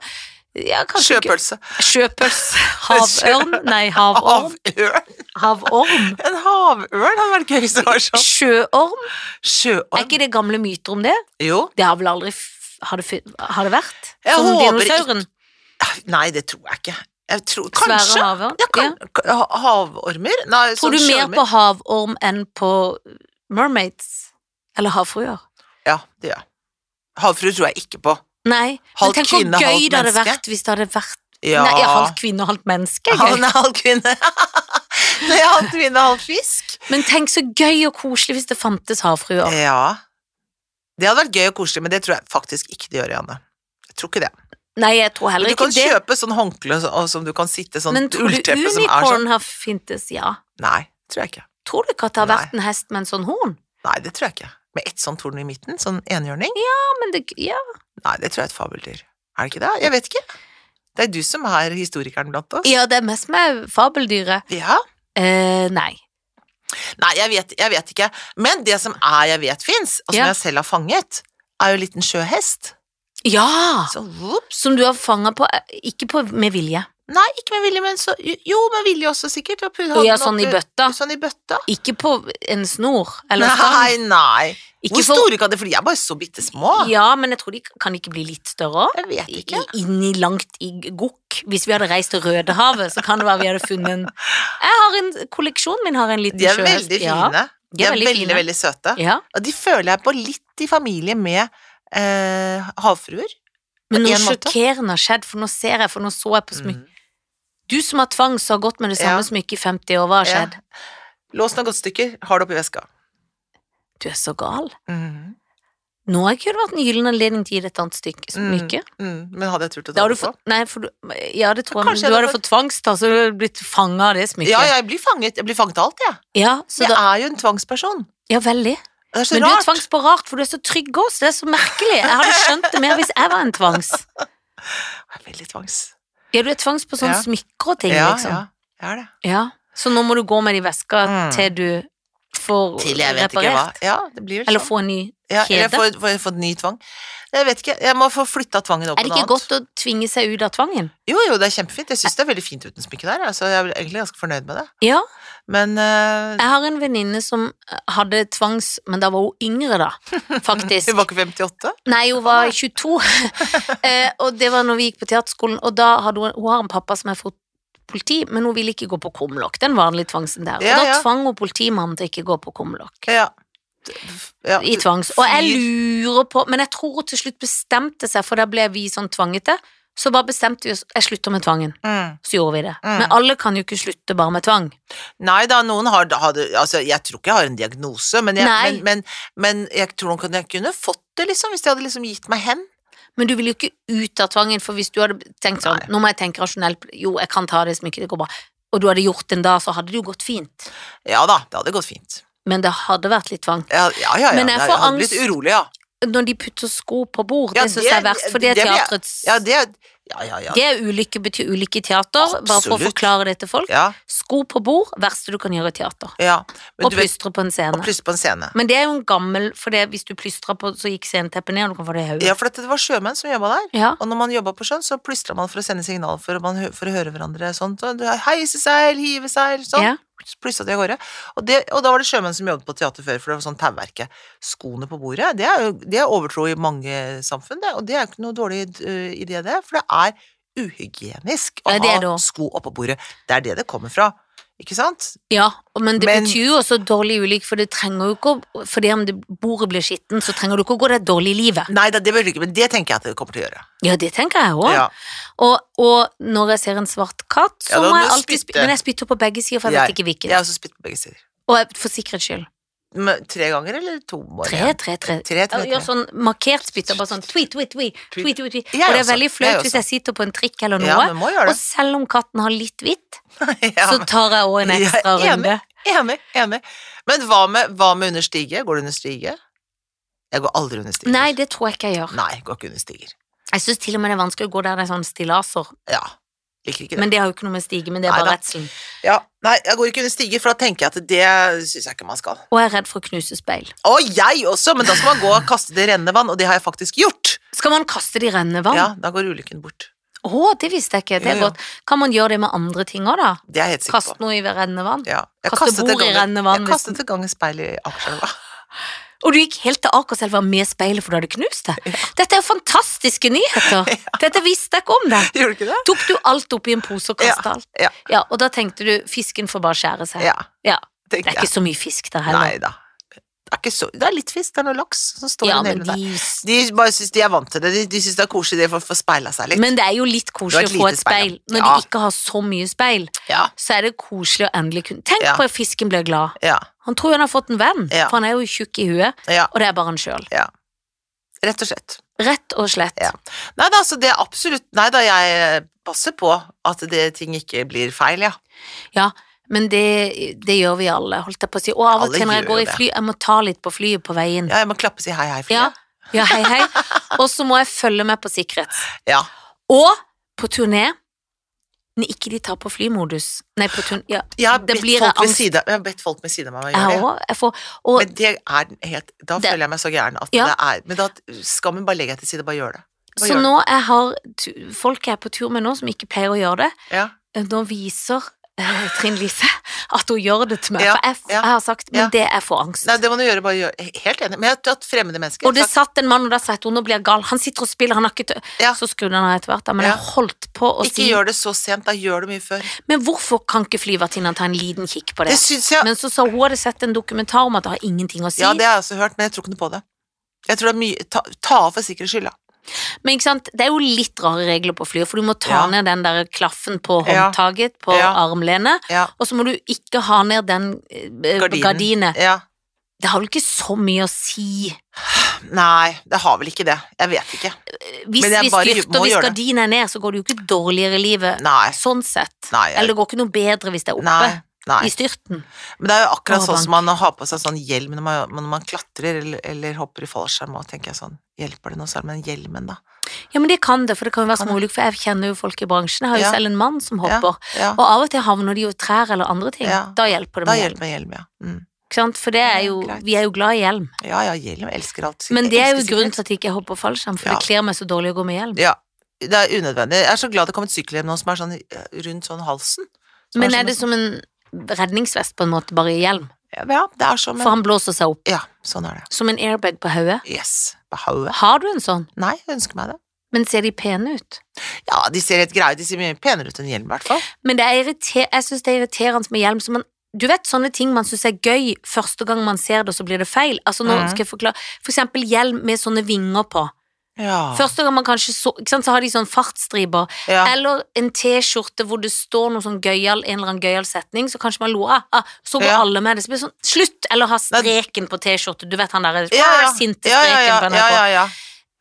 [SPEAKER 2] ja. ja, kanskje ikke.
[SPEAKER 1] Sjøpølse.
[SPEAKER 2] Sjøpøls. Havørn. Nei, havorm.
[SPEAKER 1] Havørn.
[SPEAKER 2] Havorm.
[SPEAKER 1] En havørn hadde vært gøy hvis det var sånn.
[SPEAKER 2] Sjøorm. Er
[SPEAKER 1] Sjøorm.
[SPEAKER 2] ikke det gamle myter om det?
[SPEAKER 1] Jo.
[SPEAKER 2] Det har vel aldri f- har det, fun- har det vært?
[SPEAKER 1] Jeg
[SPEAKER 2] Som
[SPEAKER 1] håper
[SPEAKER 2] dinosauren?
[SPEAKER 1] Nei, det tror jeg ikke. Jeg tror,
[SPEAKER 2] Svære
[SPEAKER 1] kanskje.
[SPEAKER 2] havørn?
[SPEAKER 1] Ja, kan,
[SPEAKER 2] Ja.
[SPEAKER 1] ha- Havormer? Nei,
[SPEAKER 2] Tror
[SPEAKER 1] sånn
[SPEAKER 2] du mer
[SPEAKER 1] sjøormer.
[SPEAKER 2] på havorm enn på mermaids? Eller havfruer?
[SPEAKER 1] Ja, det gjør jeg. Havfrue tror jeg ikke på.
[SPEAKER 2] Nei, men
[SPEAKER 1] Halvt
[SPEAKER 2] tenk hvor
[SPEAKER 1] kvinne,
[SPEAKER 2] gøy
[SPEAKER 1] halvt
[SPEAKER 2] det hadde
[SPEAKER 1] menneske.
[SPEAKER 2] vært hvis det hadde vært
[SPEAKER 1] Ja.
[SPEAKER 2] Nei, halvt kvinne og halvt menneske. er gøy.
[SPEAKER 1] Han er halv kvinne. Nei, halv kvinne, halv fisk.
[SPEAKER 2] Men tenk så gøy og koselig hvis det fantes havfruer.
[SPEAKER 1] Ja. Det hadde vært gøy og koselig, men det tror jeg faktisk ikke det gjør, Janne. Jeg tror ikke det.
[SPEAKER 2] Nei, jeg tror
[SPEAKER 1] Men
[SPEAKER 2] heller
[SPEAKER 1] du kan
[SPEAKER 2] ikke det.
[SPEAKER 1] kjøpe sånn håndkle så- og som du kan sitte sånn
[SPEAKER 2] Men tror du
[SPEAKER 1] ullteppe som er sånn.
[SPEAKER 2] unicorn har fintes? Ja.
[SPEAKER 1] Nei, tror jeg ikke.
[SPEAKER 2] Tror du ikke at det har
[SPEAKER 1] Nei.
[SPEAKER 2] vært en hest med en sånn horn?
[SPEAKER 1] Nei, det tror jeg ikke. Med ett sånt horn i midten, sånn enhjørning.
[SPEAKER 2] Ja, men det, ja.
[SPEAKER 1] Nei, det tror jeg er et fabeldyr. Er det ikke det? Jeg vet ikke. Det er du som er historikeren blant oss.
[SPEAKER 2] ja, det er mest med fabeldyret.
[SPEAKER 1] Ja.
[SPEAKER 2] Eh, nei.
[SPEAKER 1] Nei, jeg vet, jeg vet ikke. Men det som er jeg vet fins, og som
[SPEAKER 2] Ja.
[SPEAKER 1] jeg selv har fanget, er jo en liten sjøhest.
[SPEAKER 2] Ja!
[SPEAKER 1] Sånn voop.
[SPEAKER 2] Som du har fanga på, eh, ikke på med vilje.
[SPEAKER 1] Nei, ikke med vilje, men så Jo, med vilje også, sikkert. Og pu-
[SPEAKER 2] Og ja,
[SPEAKER 1] hadde den
[SPEAKER 2] sånn i
[SPEAKER 1] oppi-
[SPEAKER 2] bøtta.
[SPEAKER 1] Sånn i bøtta.
[SPEAKER 2] Ikke på en snor. Eller
[SPEAKER 1] Nei,
[SPEAKER 2] stang.
[SPEAKER 1] nei.
[SPEAKER 2] Ikke
[SPEAKER 1] Hvor
[SPEAKER 2] for-
[SPEAKER 1] store kan de For de er bare så bitte små.
[SPEAKER 2] Ja, men jeg tror de kan ikke bli litt større òg.
[SPEAKER 1] Jeg vet ikke.
[SPEAKER 2] Inni langt i gokk. Hvis vi hadde reist til Rødehavet, så kan det være vi hadde funnet en Jeg har en kolleksjonen min har en liten
[SPEAKER 1] De er
[SPEAKER 2] sjøhest.
[SPEAKER 1] veldig
[SPEAKER 2] Ja.
[SPEAKER 1] fine. De er veldig, veldig, søte.
[SPEAKER 2] fine. Ja.
[SPEAKER 1] Og de føler jeg på litt i familie med eh, havfruer.
[SPEAKER 2] Men
[SPEAKER 1] På
[SPEAKER 2] noe
[SPEAKER 1] en måte.
[SPEAKER 2] sjokkerende har skjedd, for nå ser jeg, for nå så jeg på smykket.
[SPEAKER 1] Mm.
[SPEAKER 2] Du som har tvang, så har gått med det samme
[SPEAKER 1] Ja.
[SPEAKER 2] smykket i 50 år, hva har
[SPEAKER 1] Ja.
[SPEAKER 2] skjedd?
[SPEAKER 1] Låsen og godtstykker har det oppi veska.
[SPEAKER 2] Du er så gal.
[SPEAKER 1] Mhm.
[SPEAKER 2] Nå har ikke det vært en gyllen anledning til å gi deg et annet stykke
[SPEAKER 1] Mm.
[SPEAKER 2] smykke.
[SPEAKER 1] Mm, men hadde jeg turt å
[SPEAKER 2] Da
[SPEAKER 1] ta
[SPEAKER 2] har du
[SPEAKER 1] det på?
[SPEAKER 2] fått, nei, for du, ja, det tror jeg, men
[SPEAKER 1] Kanskje
[SPEAKER 2] du
[SPEAKER 1] jeg
[SPEAKER 2] hadde
[SPEAKER 1] hadde
[SPEAKER 2] fått tvangstall, så du hadde blitt fanget av det smykket.
[SPEAKER 1] Ja, jeg blir fanget. Jeg blir fanget av alt, jeg.
[SPEAKER 2] Ja, så
[SPEAKER 1] Jeg
[SPEAKER 2] da,
[SPEAKER 1] er jo en tvangsperson.
[SPEAKER 2] ja veldig.
[SPEAKER 1] Det er så
[SPEAKER 2] Men du er
[SPEAKER 1] rart.
[SPEAKER 2] tvangs på rart, for du er så trygg også, det er så merkelig. Jeg hadde skjønt det mer hvis jeg var en tvangs.
[SPEAKER 1] Jeg er veldig tvangs.
[SPEAKER 2] Ja, du er tvangs på sånne
[SPEAKER 1] Ja.
[SPEAKER 2] smykker og ting,
[SPEAKER 1] ja,
[SPEAKER 2] liksom.
[SPEAKER 1] ja, jeg er det.
[SPEAKER 2] Ja. Så nå må du gå med de veska
[SPEAKER 1] Mm.
[SPEAKER 2] til du får
[SPEAKER 1] Til jeg vet ikke hva.
[SPEAKER 2] reparert.
[SPEAKER 1] Ja, det blir vel
[SPEAKER 2] Eller
[SPEAKER 1] sånn.
[SPEAKER 2] få en ny
[SPEAKER 1] ja, eller
[SPEAKER 2] kjede.
[SPEAKER 1] får, får jeg fått ny tvang. Jeg vet ikke, jeg må få flytta tvangen opp
[SPEAKER 2] Er det ikke godt å tvinge seg ut av tvangen?
[SPEAKER 1] Jo, jo, det er kjempefint. Jeg syns det er veldig fint uten smykke der, jeg, så jeg er egentlig ganske fornøyd med det.
[SPEAKER 2] Ja,
[SPEAKER 1] Men eh,
[SPEAKER 2] jeg har en venninne som hadde tvangs, men da var hun yngre, da, faktisk.
[SPEAKER 1] hun var ikke 58?
[SPEAKER 2] Nei, hun var 22, eh, og det var når vi gikk på teaterskolen, og da hadde hun, hun har en pappa som er fot- politi, men hun ville ikke gå på kumlokk, den vanlige tvangsen der.
[SPEAKER 1] Ja,
[SPEAKER 2] og da
[SPEAKER 1] ja.
[SPEAKER 2] tvang hun politimannen til ikke gå på kumlokk.
[SPEAKER 1] Ja. ja.
[SPEAKER 2] I tvangs. Og jeg
[SPEAKER 1] Fyr.
[SPEAKER 2] lurer på, men jeg tror hun til slutt bestemte seg, for da ble vi sånn tvangete, så bare bestemte vi oss, jeg slutter med tvangen.
[SPEAKER 1] Mm.
[SPEAKER 2] Så gjorde vi det.
[SPEAKER 1] Mm.
[SPEAKER 2] Men alle kan jo ikke slutte bare med tvang.
[SPEAKER 1] Nei da, noen har, har det- altså, Jeg tror ikke jeg har en diagnose, men jeg,
[SPEAKER 2] Nei.
[SPEAKER 1] men, men, men jeg tror nok at jeg kunne fått det, liksom, hvis de hadde liksom gitt meg hen.
[SPEAKER 2] Men du vil jo ikke ut av tvangen, for hvis du hadde tenkt sånn, nå må jeg tenke rasjonelt, jo, jeg kan ta det som ikke det går bra, og du hadde gjort den da, så hadde det jo gått fint.
[SPEAKER 1] Ja da, det hadde gått fint.
[SPEAKER 2] Men det hadde vært litt tvang.
[SPEAKER 1] Ja, ja, ja. ja.
[SPEAKER 2] Men jeg får
[SPEAKER 1] hadde blitt
[SPEAKER 2] angst.
[SPEAKER 1] urolig, ja.
[SPEAKER 2] Når de putter sko på bord,
[SPEAKER 1] Ja,
[SPEAKER 2] det syns
[SPEAKER 1] det-
[SPEAKER 2] jeg er verst, for det er
[SPEAKER 1] det blir-
[SPEAKER 2] teatrets
[SPEAKER 1] Ja, det Ja, ja, ja.
[SPEAKER 2] Det er ulykke betyr ulykke i teater, bare for å
[SPEAKER 1] Absolutt.
[SPEAKER 2] forklare det til folk.
[SPEAKER 1] ja,
[SPEAKER 2] Sko på bord, verste du kan gjøre i teater.
[SPEAKER 1] ja. Men
[SPEAKER 2] Og
[SPEAKER 1] du vet,
[SPEAKER 2] plystre på en
[SPEAKER 1] og
[SPEAKER 2] scene.
[SPEAKER 1] plutselig på en scene.
[SPEAKER 2] Men det er jo en gammel For det, hvis du plystra på, så gikk sceneteppet ned, og du kan få det i
[SPEAKER 1] Ja,
[SPEAKER 2] hodet.
[SPEAKER 1] for dette, det var sjømenn som jobba der.
[SPEAKER 2] Ja.
[SPEAKER 1] Og når man jobba på sjøen, så plystra man for å sende signal for, å- man, hø- for å høre hverandre sånn. så du- Heise seil, hive seil, sånn.
[SPEAKER 2] Ja.
[SPEAKER 1] Plyssa de av gårde. Og, det, og da var det sjømenn som jobbet på teater før, for det var sånn tauverke. Skoene på bordet, det er, jo, det er overtro i mange samfunn, det. Og det er jo ikke noe dårlig øh, idé, det. For det er uhygienisk å
[SPEAKER 2] Ja, det er det
[SPEAKER 1] ha
[SPEAKER 2] også.
[SPEAKER 1] sko oppå bordet. Det er det det kommer fra. Ikke sant?
[SPEAKER 2] ja. og- Men det
[SPEAKER 1] Men-
[SPEAKER 2] betyr jo også dårlig ulykke, for det trenger jo ikke å Fordi om det bordet blir skitten, så trenger du ikke å gå deg dårlig i livet.
[SPEAKER 1] Nei, det, det bør du ikke, men det tenker jeg at det kommer til å gjøre.
[SPEAKER 2] Ja, det tenker jeg òg.
[SPEAKER 1] Ja.
[SPEAKER 2] Og, og når jeg ser en svart katt, så
[SPEAKER 1] Ja, da
[SPEAKER 2] må
[SPEAKER 1] må
[SPEAKER 2] jeg
[SPEAKER 1] du
[SPEAKER 2] alltid
[SPEAKER 1] spytte.
[SPEAKER 2] spytte. Men jeg spytter på begge sider, for jeg
[SPEAKER 1] Jeg-
[SPEAKER 2] vet ikke hvilken.
[SPEAKER 1] Jeg har også spytt på begge sider.
[SPEAKER 2] Og jeg, for sikkerhets skyld.
[SPEAKER 1] med- tre ganger, eller to? Bare?
[SPEAKER 2] Tre, tre, tre.
[SPEAKER 1] Tre, tre,
[SPEAKER 2] Jeg gjør
[SPEAKER 1] tre.
[SPEAKER 2] sånn markert spytter, bare sånn tweet, tweet, tweet, tweet, tweet, tweet.
[SPEAKER 1] Jeg
[SPEAKER 2] Og det er
[SPEAKER 1] også.
[SPEAKER 2] veldig flaut
[SPEAKER 1] altså. Jeg sånn.
[SPEAKER 2] hvis jeg sitter på en trikk eller
[SPEAKER 1] Ja,
[SPEAKER 2] noe,
[SPEAKER 1] men må gjøre
[SPEAKER 2] og
[SPEAKER 1] det.
[SPEAKER 2] selv om katten har litt hvitt,
[SPEAKER 1] Ja,
[SPEAKER 2] så
[SPEAKER 1] men-
[SPEAKER 2] tar jeg også en
[SPEAKER 1] Jeg er
[SPEAKER 2] ekstra
[SPEAKER 1] enig.
[SPEAKER 2] runde.
[SPEAKER 1] Enig, enig. Men hva med, hva med under stige? Går du under stige? Jeg går aldri under stiger.
[SPEAKER 2] Nei, det tror jeg ikke jeg gjør.
[SPEAKER 1] Nei, går ikke under stiger.
[SPEAKER 2] Jeg synes til og med det er vanskelig å gå der det er sånn stillaser,
[SPEAKER 1] Ja. Liker ikke det.
[SPEAKER 2] men det har jo ikke noe med stige, men det er
[SPEAKER 1] Neida.
[SPEAKER 2] bare redselen.
[SPEAKER 1] ja. Nei, jeg går ikke under stiger, for da tenker jeg at det syns jeg ikke man skal.
[SPEAKER 2] Og jeg er redd for å knuse speil.
[SPEAKER 1] Å, jeg også, men da skal man gå og kaste det i rennende vann, og det har jeg faktisk gjort.
[SPEAKER 2] Skal man kaste det i rennende vann?
[SPEAKER 1] Ja, da går ulykken bort.
[SPEAKER 2] Å, det visste jeg ikke, det
[SPEAKER 1] Ja,
[SPEAKER 2] er
[SPEAKER 1] ja.
[SPEAKER 2] godt. Kan man gjøre det med andre ting også da?
[SPEAKER 1] Det er jeg helt sikker
[SPEAKER 2] Kaste
[SPEAKER 1] på.
[SPEAKER 2] noe i rennende vann?
[SPEAKER 1] Ja. Jeg
[SPEAKER 2] Kaste
[SPEAKER 1] kastet
[SPEAKER 2] bord i
[SPEAKER 1] et gang-
[SPEAKER 2] rennende vann,
[SPEAKER 1] Jeg
[SPEAKER 2] hvis-
[SPEAKER 1] kastet et gang et speil i Akerselva.
[SPEAKER 2] Og du gikk helt til Akerselva med speilet, for du hadde knust det. Dette er jo fantastiske nyheter! Dette visste jeg ikke om
[SPEAKER 1] Gjorde
[SPEAKER 2] deg.
[SPEAKER 1] du ikke det?
[SPEAKER 2] Tok du alt opp i en pose og kasta alt?
[SPEAKER 1] ja.
[SPEAKER 2] ja. Og da tenkte du fisken får bare skjære seg.
[SPEAKER 1] Ja,
[SPEAKER 2] Ja, Det
[SPEAKER 1] tenkte
[SPEAKER 2] er
[SPEAKER 1] jeg.
[SPEAKER 2] ikke så mye fisk der heller.
[SPEAKER 1] Nei da. Det er, ikke så, det er litt fisk, det er noe laks som står
[SPEAKER 2] ja,
[SPEAKER 1] i
[SPEAKER 2] men,
[SPEAKER 1] neglene der.
[SPEAKER 2] de,
[SPEAKER 1] De bare syns de er vant til det. De, de syns det er koselig å få- få speila seg litt.
[SPEAKER 2] men det er jo litt
[SPEAKER 1] Det var
[SPEAKER 2] koselig
[SPEAKER 1] et
[SPEAKER 2] å få
[SPEAKER 1] lite
[SPEAKER 2] et
[SPEAKER 1] speil,
[SPEAKER 2] speil.
[SPEAKER 1] ja.
[SPEAKER 2] Når
[SPEAKER 1] Ja.
[SPEAKER 2] de ikke har så mye speil,
[SPEAKER 1] ja,
[SPEAKER 2] så er det koselig å endelig kunne Tenk
[SPEAKER 1] Ja.
[SPEAKER 2] på at fisken blir glad.
[SPEAKER 1] ja,
[SPEAKER 2] Han tror han har fått en venn,
[SPEAKER 1] Ja.
[SPEAKER 2] for han er jo tjukk i huet,
[SPEAKER 1] ja.
[SPEAKER 2] og det er bare han sjøl.
[SPEAKER 1] Rett og slett.
[SPEAKER 2] Rett og slett.
[SPEAKER 1] Ja. Nei da, altså det er absolutt Nei da, jeg passer på at det, ting ikke blir feil, ja.
[SPEAKER 2] Men det, det gjør vi alle, holdt jeg på å si. Og av og
[SPEAKER 1] Alle
[SPEAKER 2] til når jeg
[SPEAKER 1] gjør
[SPEAKER 2] går
[SPEAKER 1] jo
[SPEAKER 2] i
[SPEAKER 1] det.
[SPEAKER 2] fly, jeg må ta litt på flyet på veien.
[SPEAKER 1] ja. Jeg må klappe og si hei, hei, Frida.
[SPEAKER 2] Ja, ja hei, hei. Og så må jeg følge med på sikkerhet.
[SPEAKER 1] Ja.
[SPEAKER 2] Og på turné, når ikke de tar på flymodus. Nei, på turné, ja.
[SPEAKER 1] Jeg, har
[SPEAKER 2] Det
[SPEAKER 1] bedt
[SPEAKER 2] blir
[SPEAKER 1] folk ved
[SPEAKER 2] angst.
[SPEAKER 1] siden- jeg har bedt folk ved siden av meg om å
[SPEAKER 2] Jeg
[SPEAKER 1] gjøre det.
[SPEAKER 2] også, jeg får, og
[SPEAKER 1] Men det er helt Da
[SPEAKER 2] Det-
[SPEAKER 1] føler jeg meg så gæren at
[SPEAKER 2] Ja.
[SPEAKER 1] det er Men da skal man bare legge deg til side, bare gjør det. Bare
[SPEAKER 2] så
[SPEAKER 1] gjør
[SPEAKER 2] nå jeg har tu- folk jeg er på tur med nå, som ikke pleier å gjøre det,
[SPEAKER 1] det. Ja.
[SPEAKER 2] nå viser eh, Trine Lise at hun gjør det til meg.
[SPEAKER 1] Ja,
[SPEAKER 2] For jeg, f-
[SPEAKER 1] ja,
[SPEAKER 2] jeg har sagt, men
[SPEAKER 1] ja.
[SPEAKER 2] det jeg får angst.
[SPEAKER 1] Nei, det må du gjøre, bare gjør Helt enig. Men jeg har tatt fremmede mennesker.
[SPEAKER 2] Og det
[SPEAKER 1] Takk.
[SPEAKER 2] satt en mann, og da sa jeg at hun nå blir jeg gal. Han sitter og spiller, han har ikke tø...
[SPEAKER 1] Ja.
[SPEAKER 2] Så skrudde han av etter hvert, da, men
[SPEAKER 1] Ja.
[SPEAKER 2] jeg holdt på å
[SPEAKER 1] ikke
[SPEAKER 2] si
[SPEAKER 1] gjør det så sent, da gjør det mye før.
[SPEAKER 2] Men hvorfor kan ikke flyvertinnene ta en liten kikk på
[SPEAKER 1] Det
[SPEAKER 2] det?
[SPEAKER 1] syns jeg
[SPEAKER 2] Men så sa hun hadde sett en dokumentar om at det har ingenting å si.
[SPEAKER 1] Ja, det har jeg også hørt, men jeg tror ikke noe på det. Jeg tror det er mye Ta, ta av for sikkerhets skyld, da.
[SPEAKER 2] Men ikke sant, det er jo litt rare regler på flyet, for du må ta
[SPEAKER 1] Ja.
[SPEAKER 2] ned den der klaffen på
[SPEAKER 1] Ja.
[SPEAKER 2] håndtaket, på
[SPEAKER 1] Ja.
[SPEAKER 2] armlenet,
[SPEAKER 1] Ja.
[SPEAKER 2] og så må du ikke ha ned den eh,
[SPEAKER 1] Gardinen.
[SPEAKER 2] gardinet.
[SPEAKER 1] ja.
[SPEAKER 2] Det har vel ikke så mye å si.
[SPEAKER 1] Nei, det har vel ikke det. Jeg vet ikke.
[SPEAKER 2] Eh,
[SPEAKER 1] Men
[SPEAKER 2] Hvis
[SPEAKER 1] jeg
[SPEAKER 2] vi
[SPEAKER 1] bare
[SPEAKER 2] styrter,
[SPEAKER 1] må
[SPEAKER 2] hvis
[SPEAKER 1] gjøre det.
[SPEAKER 2] gardinet er ned, så går det jo ikke dårligere i livet.
[SPEAKER 1] Nei.
[SPEAKER 2] Sånn sett.
[SPEAKER 1] Nei, jeg-
[SPEAKER 2] Eller det går ikke noe bedre hvis det er oppe
[SPEAKER 1] Nei. Nei.
[SPEAKER 2] i styrten.
[SPEAKER 1] Men det er jo akkurat
[SPEAKER 2] Å,
[SPEAKER 1] sånn som man har på seg sånn hjelm når man, når man klatrer eller, eller hopper i fallskjerm og tenker jeg sånn Hjelper det noe særlig med den hjelmen, da?
[SPEAKER 2] Ja, men det kan det, for det kan jo være
[SPEAKER 1] Kan
[SPEAKER 2] små ulykker, for jeg kjenner jo folk i bransjen. Jeg har jo
[SPEAKER 1] Ja.
[SPEAKER 2] selv en mann som hopper.
[SPEAKER 1] Ja,
[SPEAKER 2] Og av og til havner de jo i trær eller andre ting.
[SPEAKER 1] Ja.
[SPEAKER 2] Da hjelper det
[SPEAKER 1] da
[SPEAKER 2] med hjelm.
[SPEAKER 1] hjelper hjelm, ja. Mm.
[SPEAKER 2] Ikke sant? For det er
[SPEAKER 1] Ja,
[SPEAKER 2] jo,
[SPEAKER 1] greit.
[SPEAKER 2] vi er jo glad i hjelm.
[SPEAKER 1] Ja, ja, hjelm jeg elsker alt.
[SPEAKER 2] Men det er jo
[SPEAKER 1] elsker
[SPEAKER 2] grunnen til at jeg ikke hopper fallskjerm, for
[SPEAKER 1] Ja.
[SPEAKER 2] det kler meg så dårlig å gå med hjelm.
[SPEAKER 1] sikkerhet. Ja, det er unødvendig. Jeg er så glad det kom et sykkelhjem nå som er sånn eh, rundt sånn halsen. Som
[SPEAKER 2] Men
[SPEAKER 1] sånn-
[SPEAKER 2] er det som en redningsvest på en måte, bare i hjelm?
[SPEAKER 1] Ja, det er som en
[SPEAKER 2] For han blåser seg opp.
[SPEAKER 1] Ja, sånn er det.
[SPEAKER 2] Som en airbag på hodet.
[SPEAKER 1] Yes. Behovet.
[SPEAKER 2] Har du en sånn?
[SPEAKER 1] Nei, jeg ønsker meg det.
[SPEAKER 2] Men ser de pene ut?
[SPEAKER 1] Ja, de ser helt greie ut. De ser mye penere ut enn hjelm, i hvert fall.
[SPEAKER 2] Men det er irriter jeg syns det er irriterende med hjelm. Så man, du vet sånne ting man syns er gøy første gang man ser det, og så blir det feil. Altså, nå
[SPEAKER 1] Mhm.
[SPEAKER 2] skal jeg forklare For eksempel hjelm med sånne vinger på.
[SPEAKER 1] Ja.
[SPEAKER 2] Første gang man kanskje så Ikke sant, så har de sånn fartsstriper.
[SPEAKER 1] Ah. ja.
[SPEAKER 2] Eller en T-skjorte hvor det står noe sånn gøyal, en eller annen gøyal setning, så kanskje man lo ah, ah, så går
[SPEAKER 1] Ja.
[SPEAKER 2] alle med det. Så blir det sånn Slutt! Eller ha streken på T-skjorte, du vet han derre
[SPEAKER 1] Ja, ja.
[SPEAKER 2] sinte
[SPEAKER 1] Ja, ja,
[SPEAKER 2] streken
[SPEAKER 1] ja,
[SPEAKER 2] på
[SPEAKER 1] ja,
[SPEAKER 2] NRK.
[SPEAKER 1] ja, ja.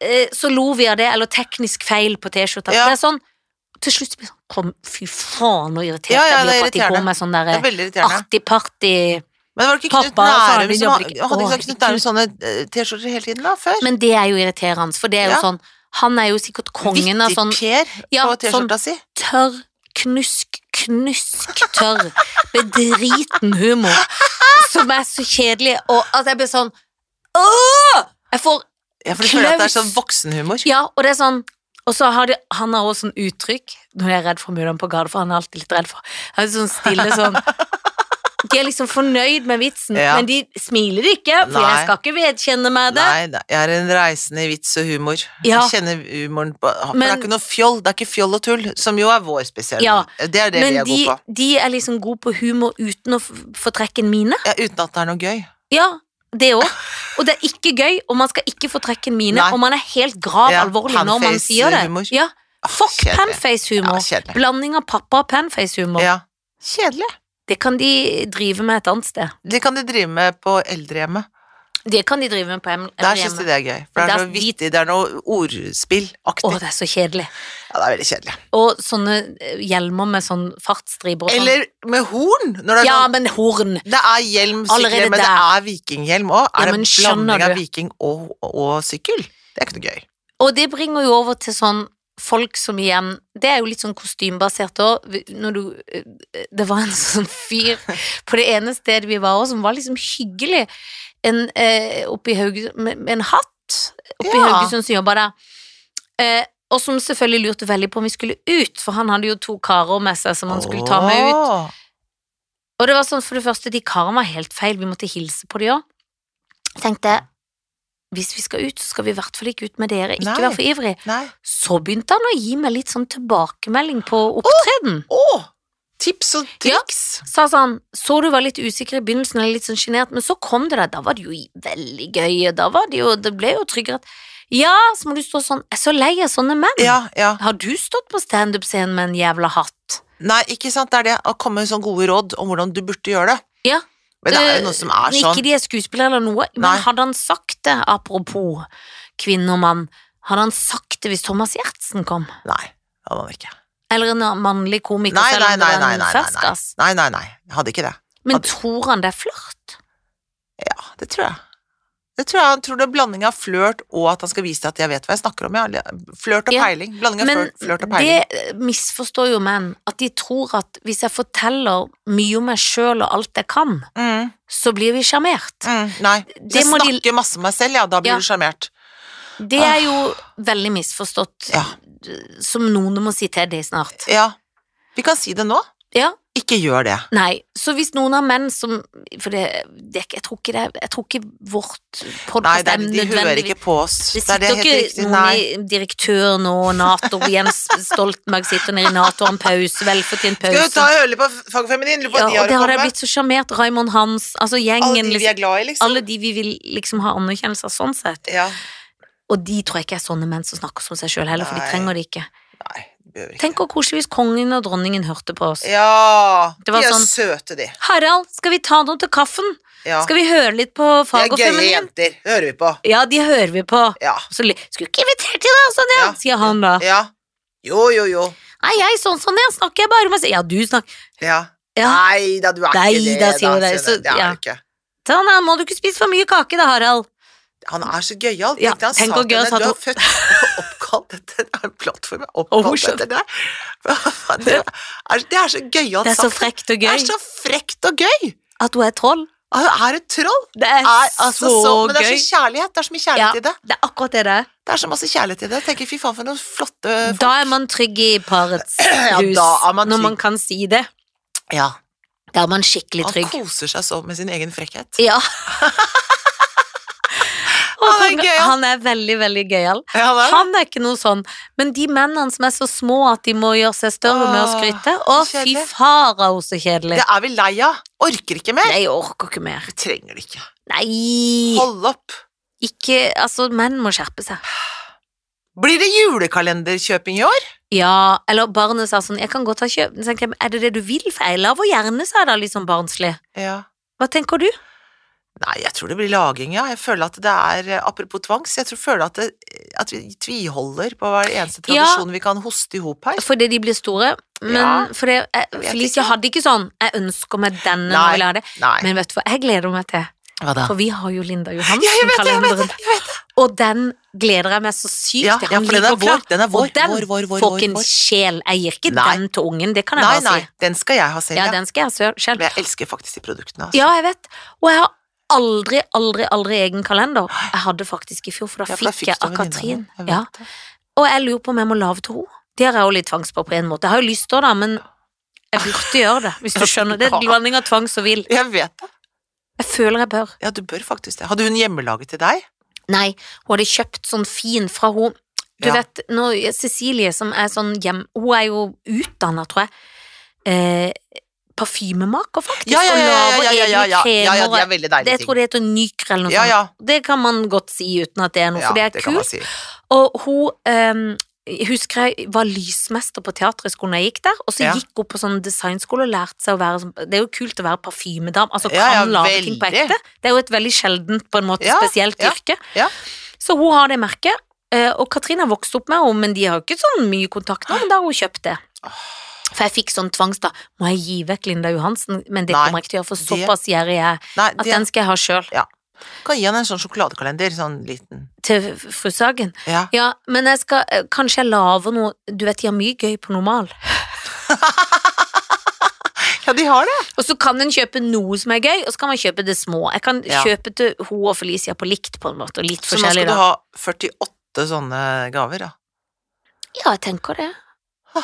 [SPEAKER 2] Eh, Så lo vi av det, eller teknisk feil på T-skjorta.
[SPEAKER 1] Ja.
[SPEAKER 2] Det er sånn Til slutt blir det sånn Kom, fy faen, så irritert
[SPEAKER 1] Ja, ja,
[SPEAKER 2] jeg
[SPEAKER 1] det
[SPEAKER 2] blir
[SPEAKER 1] er
[SPEAKER 2] på at de går
[SPEAKER 1] irriterende.
[SPEAKER 2] med sånn
[SPEAKER 1] Det er
[SPEAKER 2] derre
[SPEAKER 1] veldig irriterende.
[SPEAKER 2] artig-party
[SPEAKER 1] Men var det ikke Knut
[SPEAKER 2] Pappa og faren
[SPEAKER 1] Nærum
[SPEAKER 2] min
[SPEAKER 1] som
[SPEAKER 2] jobber
[SPEAKER 1] hadde,
[SPEAKER 2] ikke.
[SPEAKER 1] hadde ikke
[SPEAKER 2] Å,
[SPEAKER 1] sagt Knut Nærum sånne eh, T-skjorter hele tiden da, før?
[SPEAKER 2] Men det er jo irriterende, for det er jo
[SPEAKER 1] Ja.
[SPEAKER 2] sånn Han er jo sikkert kongen av sånn
[SPEAKER 1] Per
[SPEAKER 2] Ja,
[SPEAKER 1] på
[SPEAKER 2] sånn
[SPEAKER 1] T-skjorta si.
[SPEAKER 2] tørr, knusk, knusk tørr, bedriten humor, som er så kjedelig, og at jeg blir sånn Åh! Jeg får
[SPEAKER 1] Ja, for du føler at det er
[SPEAKER 2] Klaus.
[SPEAKER 1] sånn voksenhumor.
[SPEAKER 2] Ja, og det er sånn og så har de, han har også sånn uttrykk Når jeg er redd for mudderen på gade, for han er alltid litt redd for Han er sånn stille sånn De er liksom fornøyd med vitsen,
[SPEAKER 1] Ja.
[SPEAKER 2] men de smiler ikke, for
[SPEAKER 1] Nei.
[SPEAKER 2] jeg skal ikke vedkjenne meg det.
[SPEAKER 1] Nei, nei, jeg er en reisende i vits og humor.
[SPEAKER 2] Ja.
[SPEAKER 1] Jeg kjenner humoren på For det
[SPEAKER 2] Men-
[SPEAKER 1] er ikke noe fjoll, det er ikke fjoll og tull, som jo er vår spesielle.
[SPEAKER 2] Ja,
[SPEAKER 1] Det er det vi
[SPEAKER 2] Men
[SPEAKER 1] er
[SPEAKER 2] de,
[SPEAKER 1] gode på.
[SPEAKER 2] de er liksom gode på humor uten å f- få trekken mine.
[SPEAKER 1] Ja, uten at det er noe gøy.
[SPEAKER 2] Ja, det òg. Og det er ikke gøy, og man skal ikke få trekken mine,
[SPEAKER 1] Nei.
[SPEAKER 2] og man er helt grav
[SPEAKER 1] Ja,
[SPEAKER 2] alvorlig når man sier det.
[SPEAKER 1] panface-humor.
[SPEAKER 2] Ja,
[SPEAKER 1] Ah,
[SPEAKER 2] Fuck
[SPEAKER 1] kjedelig. Ja,
[SPEAKER 2] panface-humor.
[SPEAKER 1] kjedelig.
[SPEAKER 2] Blanding av pappa og panface-humor.
[SPEAKER 1] Ja. Kjedelig.
[SPEAKER 2] Det kan de drive med et annet sted.
[SPEAKER 1] Det kan de drive med på eldrehjemmet.
[SPEAKER 2] Det kan de drive med på em-
[SPEAKER 1] Der syns de
[SPEAKER 2] eldrehjemmet.
[SPEAKER 1] det er gøy. For det
[SPEAKER 2] Der-
[SPEAKER 1] er noe vittig, det er noe ordspillaktig.
[SPEAKER 2] Å, det er så kjedelig.
[SPEAKER 1] Ja, det er veldig kjedelig.
[SPEAKER 2] Og sånne eh, hjelmer med sånn fartsstriper og sånn.
[SPEAKER 1] Eller med horn! Når det er
[SPEAKER 2] Ja,
[SPEAKER 1] sånn
[SPEAKER 2] men horn!
[SPEAKER 1] det er hjelm, sykkel,
[SPEAKER 2] Allerede
[SPEAKER 1] men det
[SPEAKER 2] der.
[SPEAKER 1] er vikinghjelm òg.
[SPEAKER 2] Ja,
[SPEAKER 1] Er det
[SPEAKER 2] men
[SPEAKER 1] en
[SPEAKER 2] skjønner
[SPEAKER 1] blanding av
[SPEAKER 2] du?
[SPEAKER 1] viking og, og sykkel? Det er ikke noe gøy.
[SPEAKER 2] Og det bringer jo over til sånn folk som igjen Det er jo litt sånn kostymbasert òg. Når du eh, Det var en sånn fyr på det ene stedet vi var også som var liksom hyggelig. En eh, oppe i Haugesund med, med en hatt oppe i
[SPEAKER 1] Ja.
[SPEAKER 2] Haugesund som jobba der. Eh, og som selvfølgelig lurte veldig på om vi skulle ut, for han hadde jo to karer med seg som han skulle ta med ut.
[SPEAKER 1] Åh.
[SPEAKER 2] Og det var sånn, for det første, de karene var helt feil, vi måtte hilse på de òg. Tenkte hvis vi skal ut, så skal vi i hvert fall ikke ut med dere. Ikke
[SPEAKER 1] Nei.
[SPEAKER 2] vær for ivrig.
[SPEAKER 1] Nei.
[SPEAKER 2] Så begynte han å gi meg litt sånn tilbakemelding på opptreden.
[SPEAKER 1] Å! Tips og
[SPEAKER 2] Ja.
[SPEAKER 1] triks.
[SPEAKER 2] Sa sånn, så du var litt usikker i begynnelsen, eller litt sånn sjenert, men så kom det der, da var det jo veldig gøy, og da var det jo, det ble jo tryggere. Ja, så må du stå sånn, jeg er så lei av sånne menn.
[SPEAKER 1] Ja, ja.
[SPEAKER 2] Har du stått på stand-up-scenen med en jævla hatt?
[SPEAKER 1] Nei, ikke sant. Det er det å komme med sånne gode råd om hvordan du burde gjøre det.
[SPEAKER 2] Ja.
[SPEAKER 1] Men det er jo noen som er
[SPEAKER 2] Eh,
[SPEAKER 1] sånn.
[SPEAKER 2] Ikke de er skuespillere eller noe, men
[SPEAKER 1] Nei.
[SPEAKER 2] hadde han sagt det, apropos kvinne og mann, hadde han sagt det hvis Thomas Gjertsen kom?
[SPEAKER 1] Nei, det hadde han ikke.
[SPEAKER 2] Eller en mannlig komiker,
[SPEAKER 1] Nei,
[SPEAKER 2] selv
[SPEAKER 1] nei,
[SPEAKER 2] om
[SPEAKER 1] nei,
[SPEAKER 2] det var
[SPEAKER 1] nei,
[SPEAKER 2] en
[SPEAKER 1] nei, nei, nei.
[SPEAKER 2] ferskass?
[SPEAKER 1] Nei, nei, nei. Jeg hadde ikke det.
[SPEAKER 2] Men
[SPEAKER 1] Hadde-
[SPEAKER 2] tror han det er flørt?
[SPEAKER 1] Ja, Ah, det tror jeg. Det tror jeg, han tror det er blanding av flørt og at han skal vise til at jeg vet hva jeg snakker om. Ja. eh, Flørt og
[SPEAKER 2] Ja,
[SPEAKER 1] peiling. Blanding av
[SPEAKER 2] Men
[SPEAKER 1] flørt, flørt og
[SPEAKER 2] det
[SPEAKER 1] peiling.
[SPEAKER 2] eh, misforstår jo menn. At de tror at hvis jeg forteller mye om meg sjøl og alt jeg kan,
[SPEAKER 1] Mm,
[SPEAKER 2] så blir vi sjarmert.
[SPEAKER 1] mm, nei.
[SPEAKER 2] Det
[SPEAKER 1] Hvis jeg
[SPEAKER 2] må de-
[SPEAKER 1] snakker masse om meg selv, ja, da blir
[SPEAKER 2] Ja.
[SPEAKER 1] du sjarmert.
[SPEAKER 2] Det er jo veldig misforstått,
[SPEAKER 1] Ja.
[SPEAKER 2] som noen må si til deg snart.
[SPEAKER 1] ja. Vi kan si det nå.
[SPEAKER 2] Ja,
[SPEAKER 1] Ikke gjør det.
[SPEAKER 2] Nei, så hvis noen av menn som For det, det er ikke- jeg tror ikke det er- Jeg tror ikke vårt
[SPEAKER 1] Nei, det er,
[SPEAKER 2] podkastemne
[SPEAKER 1] de hører ikke på oss.
[SPEAKER 2] Det
[SPEAKER 1] er
[SPEAKER 2] sitter
[SPEAKER 1] det helt
[SPEAKER 2] ikke
[SPEAKER 1] riktig.
[SPEAKER 2] noen
[SPEAKER 1] Nei.
[SPEAKER 2] i direktøren og Nato Jens Stoltenberg sitter nede i Nato og har en pause, velfortjent pause.
[SPEAKER 1] Skal du ta hølet på fagfeminin? Lurer på
[SPEAKER 2] ja,
[SPEAKER 1] hva de
[SPEAKER 2] og
[SPEAKER 1] har
[SPEAKER 2] det
[SPEAKER 1] å
[SPEAKER 2] har jeg
[SPEAKER 1] komme med?
[SPEAKER 2] blitt så sjarmert. Raymond Hans, altså
[SPEAKER 1] Alle
[SPEAKER 2] gjengen
[SPEAKER 1] de vi
[SPEAKER 2] liksom,
[SPEAKER 1] er glad i, liksom.
[SPEAKER 2] Alle de vi vil liksom ha anerkjennelse av, sånn sett.
[SPEAKER 1] Ja.
[SPEAKER 2] Og de tror jeg ikke er sånne menn som snakker som seg sjøl heller, for
[SPEAKER 1] Nei.
[SPEAKER 2] de trenger det ikke.
[SPEAKER 1] Nei, det behøver ikke.
[SPEAKER 2] Tenk hvor koselig hvis kongen og dronningen hørte på oss.
[SPEAKER 1] Ja,
[SPEAKER 2] Det var
[SPEAKER 1] de er
[SPEAKER 2] sånn-
[SPEAKER 1] søte, de.
[SPEAKER 2] Harald, skal vi ta noe til kaffen?
[SPEAKER 1] Ja.
[SPEAKER 2] Skal vi høre litt på
[SPEAKER 1] De
[SPEAKER 2] fag
[SPEAKER 1] er
[SPEAKER 2] og
[SPEAKER 1] gøye
[SPEAKER 2] feminin?
[SPEAKER 1] jenter. Det hører vi på.
[SPEAKER 2] Ja, de hører vi på.
[SPEAKER 1] Ja.
[SPEAKER 2] Så li- Skulle ikke invitert til det, sånn ja,
[SPEAKER 1] Ja.
[SPEAKER 2] sier han da.
[SPEAKER 1] ja. Jo, jo, jo.
[SPEAKER 2] Nei, jeg sånn sånn jeg snakker jeg bare med Ja, du snakker
[SPEAKER 1] Ja.
[SPEAKER 2] Ja,
[SPEAKER 1] Nei da, du er
[SPEAKER 2] Nei
[SPEAKER 1] ikke det.
[SPEAKER 2] da, sier hun det, så-
[SPEAKER 1] hun. det er
[SPEAKER 2] ja.
[SPEAKER 1] du ikke.
[SPEAKER 2] sånn ja, må du ikke spise for mye kake da, Harald.
[SPEAKER 1] Han er så gøyal.
[SPEAKER 2] Ja,
[SPEAKER 1] Tenkte han
[SPEAKER 2] tenk
[SPEAKER 1] sa
[SPEAKER 2] hvor
[SPEAKER 1] til
[SPEAKER 2] gøy
[SPEAKER 1] henne,
[SPEAKER 2] at
[SPEAKER 1] Du
[SPEAKER 2] hun-
[SPEAKER 1] er født og oppkalt etter Det er en plattform jeg er oppkalt
[SPEAKER 2] skjønte.
[SPEAKER 1] etter deg. Det er, det er så gøyalt
[SPEAKER 2] Det er så
[SPEAKER 1] sagt.
[SPEAKER 2] frekt
[SPEAKER 1] Det
[SPEAKER 2] og
[SPEAKER 1] er
[SPEAKER 2] gøy
[SPEAKER 1] så frekt og gøy!
[SPEAKER 2] at hun er troll.
[SPEAKER 1] Hun er et troll.
[SPEAKER 2] Det er,
[SPEAKER 1] Er, altså,
[SPEAKER 2] så,
[SPEAKER 1] så, men det er
[SPEAKER 2] gøy.
[SPEAKER 1] så kjærlighet. Det er så mye
[SPEAKER 2] Ja,
[SPEAKER 1] kjærlighet i det.
[SPEAKER 2] det er akkurat det det er.
[SPEAKER 1] Det er så masse kjærlighet i det. Jeg tenker, fy faen, for noen flotte Eh, folk.
[SPEAKER 2] Da er man trygg i parets
[SPEAKER 1] Ja,
[SPEAKER 2] hus,
[SPEAKER 1] da er man
[SPEAKER 2] når
[SPEAKER 1] trygg.
[SPEAKER 2] man kan si det.
[SPEAKER 1] Ja,
[SPEAKER 2] Da er man skikkelig
[SPEAKER 1] han
[SPEAKER 2] trygg.
[SPEAKER 1] koser seg så med sin egen frekkhet.
[SPEAKER 2] Ja. Og
[SPEAKER 1] Han er
[SPEAKER 2] kongen-
[SPEAKER 1] gøyal.
[SPEAKER 2] han er veldig, veldig gøyal.
[SPEAKER 1] Ja, da.
[SPEAKER 2] Han er ikke noe sånn, men de mennene som er så små at de må gjøre seg større med å
[SPEAKER 1] Åh,
[SPEAKER 2] skryte Å,
[SPEAKER 1] så
[SPEAKER 2] fy
[SPEAKER 1] kjedelig.
[SPEAKER 2] farao, så kjedelig.
[SPEAKER 1] Det er vi lei av. Orker ikke mer.
[SPEAKER 2] Nei, jeg orker ikke mer.
[SPEAKER 1] Vi trenger det ikke.
[SPEAKER 2] Nei!
[SPEAKER 1] Hold opp.
[SPEAKER 2] Ikke Altså, menn må skjerpe seg.
[SPEAKER 1] Blir det julekalenderkjøping i år?
[SPEAKER 2] Ja, eller barnet sa sånn 'Jeg kan godt ha kjøpt' Så tenkte jeg, Er det det du vil? For jeg lar vår hjerne seg da, litt sånn barnslig.
[SPEAKER 1] Ja.
[SPEAKER 2] Hva tenker du?
[SPEAKER 1] Nei, jeg tror det blir laging, ja. Jeg føler at det er eh, Apropos tvangs, jeg tror føler at, det, at vi tviholder på hver eneste
[SPEAKER 2] Ja. Altså,
[SPEAKER 1] tradisjon vi kan hoste i hop her.
[SPEAKER 2] Fordi de blir store, men
[SPEAKER 1] Ja,
[SPEAKER 2] fordi jeg,
[SPEAKER 1] vet
[SPEAKER 2] Felicia
[SPEAKER 1] ikke.
[SPEAKER 2] hadde ikke sånn 'Jeg ønsker meg denne når
[SPEAKER 1] Nei.
[SPEAKER 2] jeg vil ha det',
[SPEAKER 1] Nei.
[SPEAKER 2] men vet du hva, jeg gleder meg til.
[SPEAKER 1] Hva da?
[SPEAKER 2] For vi har jo Linda
[SPEAKER 1] Ja, jeg vet det, jeg vet
[SPEAKER 2] Johansen-kalenderen,
[SPEAKER 1] det! Jeg vet det.
[SPEAKER 2] og den gleder jeg meg så sykt
[SPEAKER 1] Ja,
[SPEAKER 2] til.
[SPEAKER 1] ja,
[SPEAKER 2] Han
[SPEAKER 1] for den
[SPEAKER 2] ligger
[SPEAKER 1] er vår.
[SPEAKER 2] klar.
[SPEAKER 1] Den er vår.
[SPEAKER 2] Og den
[SPEAKER 1] vår, vår, vår,
[SPEAKER 2] Får
[SPEAKER 1] vår,
[SPEAKER 2] ikke en
[SPEAKER 1] vår.
[SPEAKER 2] sjel. Jeg gir ikke
[SPEAKER 1] Nei.
[SPEAKER 2] den til ungen, det kan jeg
[SPEAKER 1] Nei,
[SPEAKER 2] bare
[SPEAKER 1] nei,
[SPEAKER 2] si.
[SPEAKER 1] den skal jeg ha selv,
[SPEAKER 2] Ja,
[SPEAKER 1] ja.
[SPEAKER 2] den skal jeg ha selv.
[SPEAKER 1] Men jeg elsker faktisk de produktene. Altså.
[SPEAKER 2] Ja, jeg vet. Og jeg har aldri, aldri, aldri egen kalender. Jeg hadde faktisk i fjor, for da,
[SPEAKER 1] Ja, for
[SPEAKER 2] fikk,
[SPEAKER 1] da
[SPEAKER 2] jeg
[SPEAKER 1] du
[SPEAKER 2] av
[SPEAKER 1] en
[SPEAKER 2] Katrin.
[SPEAKER 1] venninne, jeg vet
[SPEAKER 2] Ja.
[SPEAKER 1] det.
[SPEAKER 2] Og jeg lurer på om jeg må lage til henne. Det har jeg jo litt tvangs på på en måte. Jeg har jo lyst til det, men jeg burde gjøre det, hvis du skjønner. Det er en blanding av tvangs og vil.
[SPEAKER 1] Jeg vet det.
[SPEAKER 2] Jeg føler jeg bør.
[SPEAKER 1] Ja, du bør faktisk det. Hadde hun hjemmelaget til deg?
[SPEAKER 2] Nei, hun hadde kjøpt sånn fin fra hun Du
[SPEAKER 1] Ja.
[SPEAKER 2] vet, nå, Cecilie som er sånn hjem... Hun er jo utdannet, tror jeg. Eh, parfymemaker, faktisk.
[SPEAKER 1] Ja, ja, ja,
[SPEAKER 2] og
[SPEAKER 1] ja, ja,
[SPEAKER 2] lager
[SPEAKER 1] ja, ja,
[SPEAKER 2] egne
[SPEAKER 1] ja, ja,
[SPEAKER 2] kremer.
[SPEAKER 1] de er veldig
[SPEAKER 2] det
[SPEAKER 1] deilige
[SPEAKER 2] jeg tror det heter Nykr eller noe
[SPEAKER 1] Ja,
[SPEAKER 2] sånt.
[SPEAKER 1] ja.
[SPEAKER 2] Det kan man godt si uten at det er noe,
[SPEAKER 1] ja
[SPEAKER 2] for det er
[SPEAKER 1] kan man
[SPEAKER 2] kult.
[SPEAKER 1] si.
[SPEAKER 2] Og hun ehm, Jeg husker jeg var lysmester på teaterhøgskolen da jeg gikk der, og så
[SPEAKER 1] Ja.
[SPEAKER 2] gikk hun på sånn designskole og lærte seg å være sånn Det er jo kult å være parfymedame, altså kan
[SPEAKER 1] Ja, ja,
[SPEAKER 2] lage ting på
[SPEAKER 1] veldig.
[SPEAKER 2] ekte. Det er jo et veldig sjeldent, på en måte,
[SPEAKER 1] Ja,
[SPEAKER 2] spesielt
[SPEAKER 1] ja,
[SPEAKER 2] yrke.
[SPEAKER 1] ja.
[SPEAKER 2] Så hun har det merket, eh, og Katrine har vokst opp med henne, men de har jo ikke sånn mye kontakt nå, men da har hun kjøpt det. For jeg fikk sånn tvangs da, må jeg gi vekk Linda Johansen, men det
[SPEAKER 1] Nei,
[SPEAKER 2] kommer jeg ikke til å gjøre, for
[SPEAKER 1] det-
[SPEAKER 2] såpass gjerrig er jeg,
[SPEAKER 1] Nei,
[SPEAKER 2] at
[SPEAKER 1] de
[SPEAKER 2] den skal jeg ha selv
[SPEAKER 1] kan gi han en sånn sjokoladekalender, sånn liten.
[SPEAKER 2] til fru Sagen.
[SPEAKER 1] Ja.
[SPEAKER 2] Ja, men jeg skal, eh, kanskje jeg laver noe, du vet, de har mye gøy på normal.
[SPEAKER 1] ja, de har det.
[SPEAKER 2] Og så kan en kjøpe noe som er gøy, og så kan man kjøpe det små. Jeg kan
[SPEAKER 1] Ja.
[SPEAKER 2] kjøpe til hun og Felicia på likt, på en måte, og litt
[SPEAKER 1] Så nå skal
[SPEAKER 2] forskjellig
[SPEAKER 1] du
[SPEAKER 2] da.
[SPEAKER 1] ha 48 sånne gaver, da.
[SPEAKER 2] Ja, jeg tenker det.
[SPEAKER 1] Ah.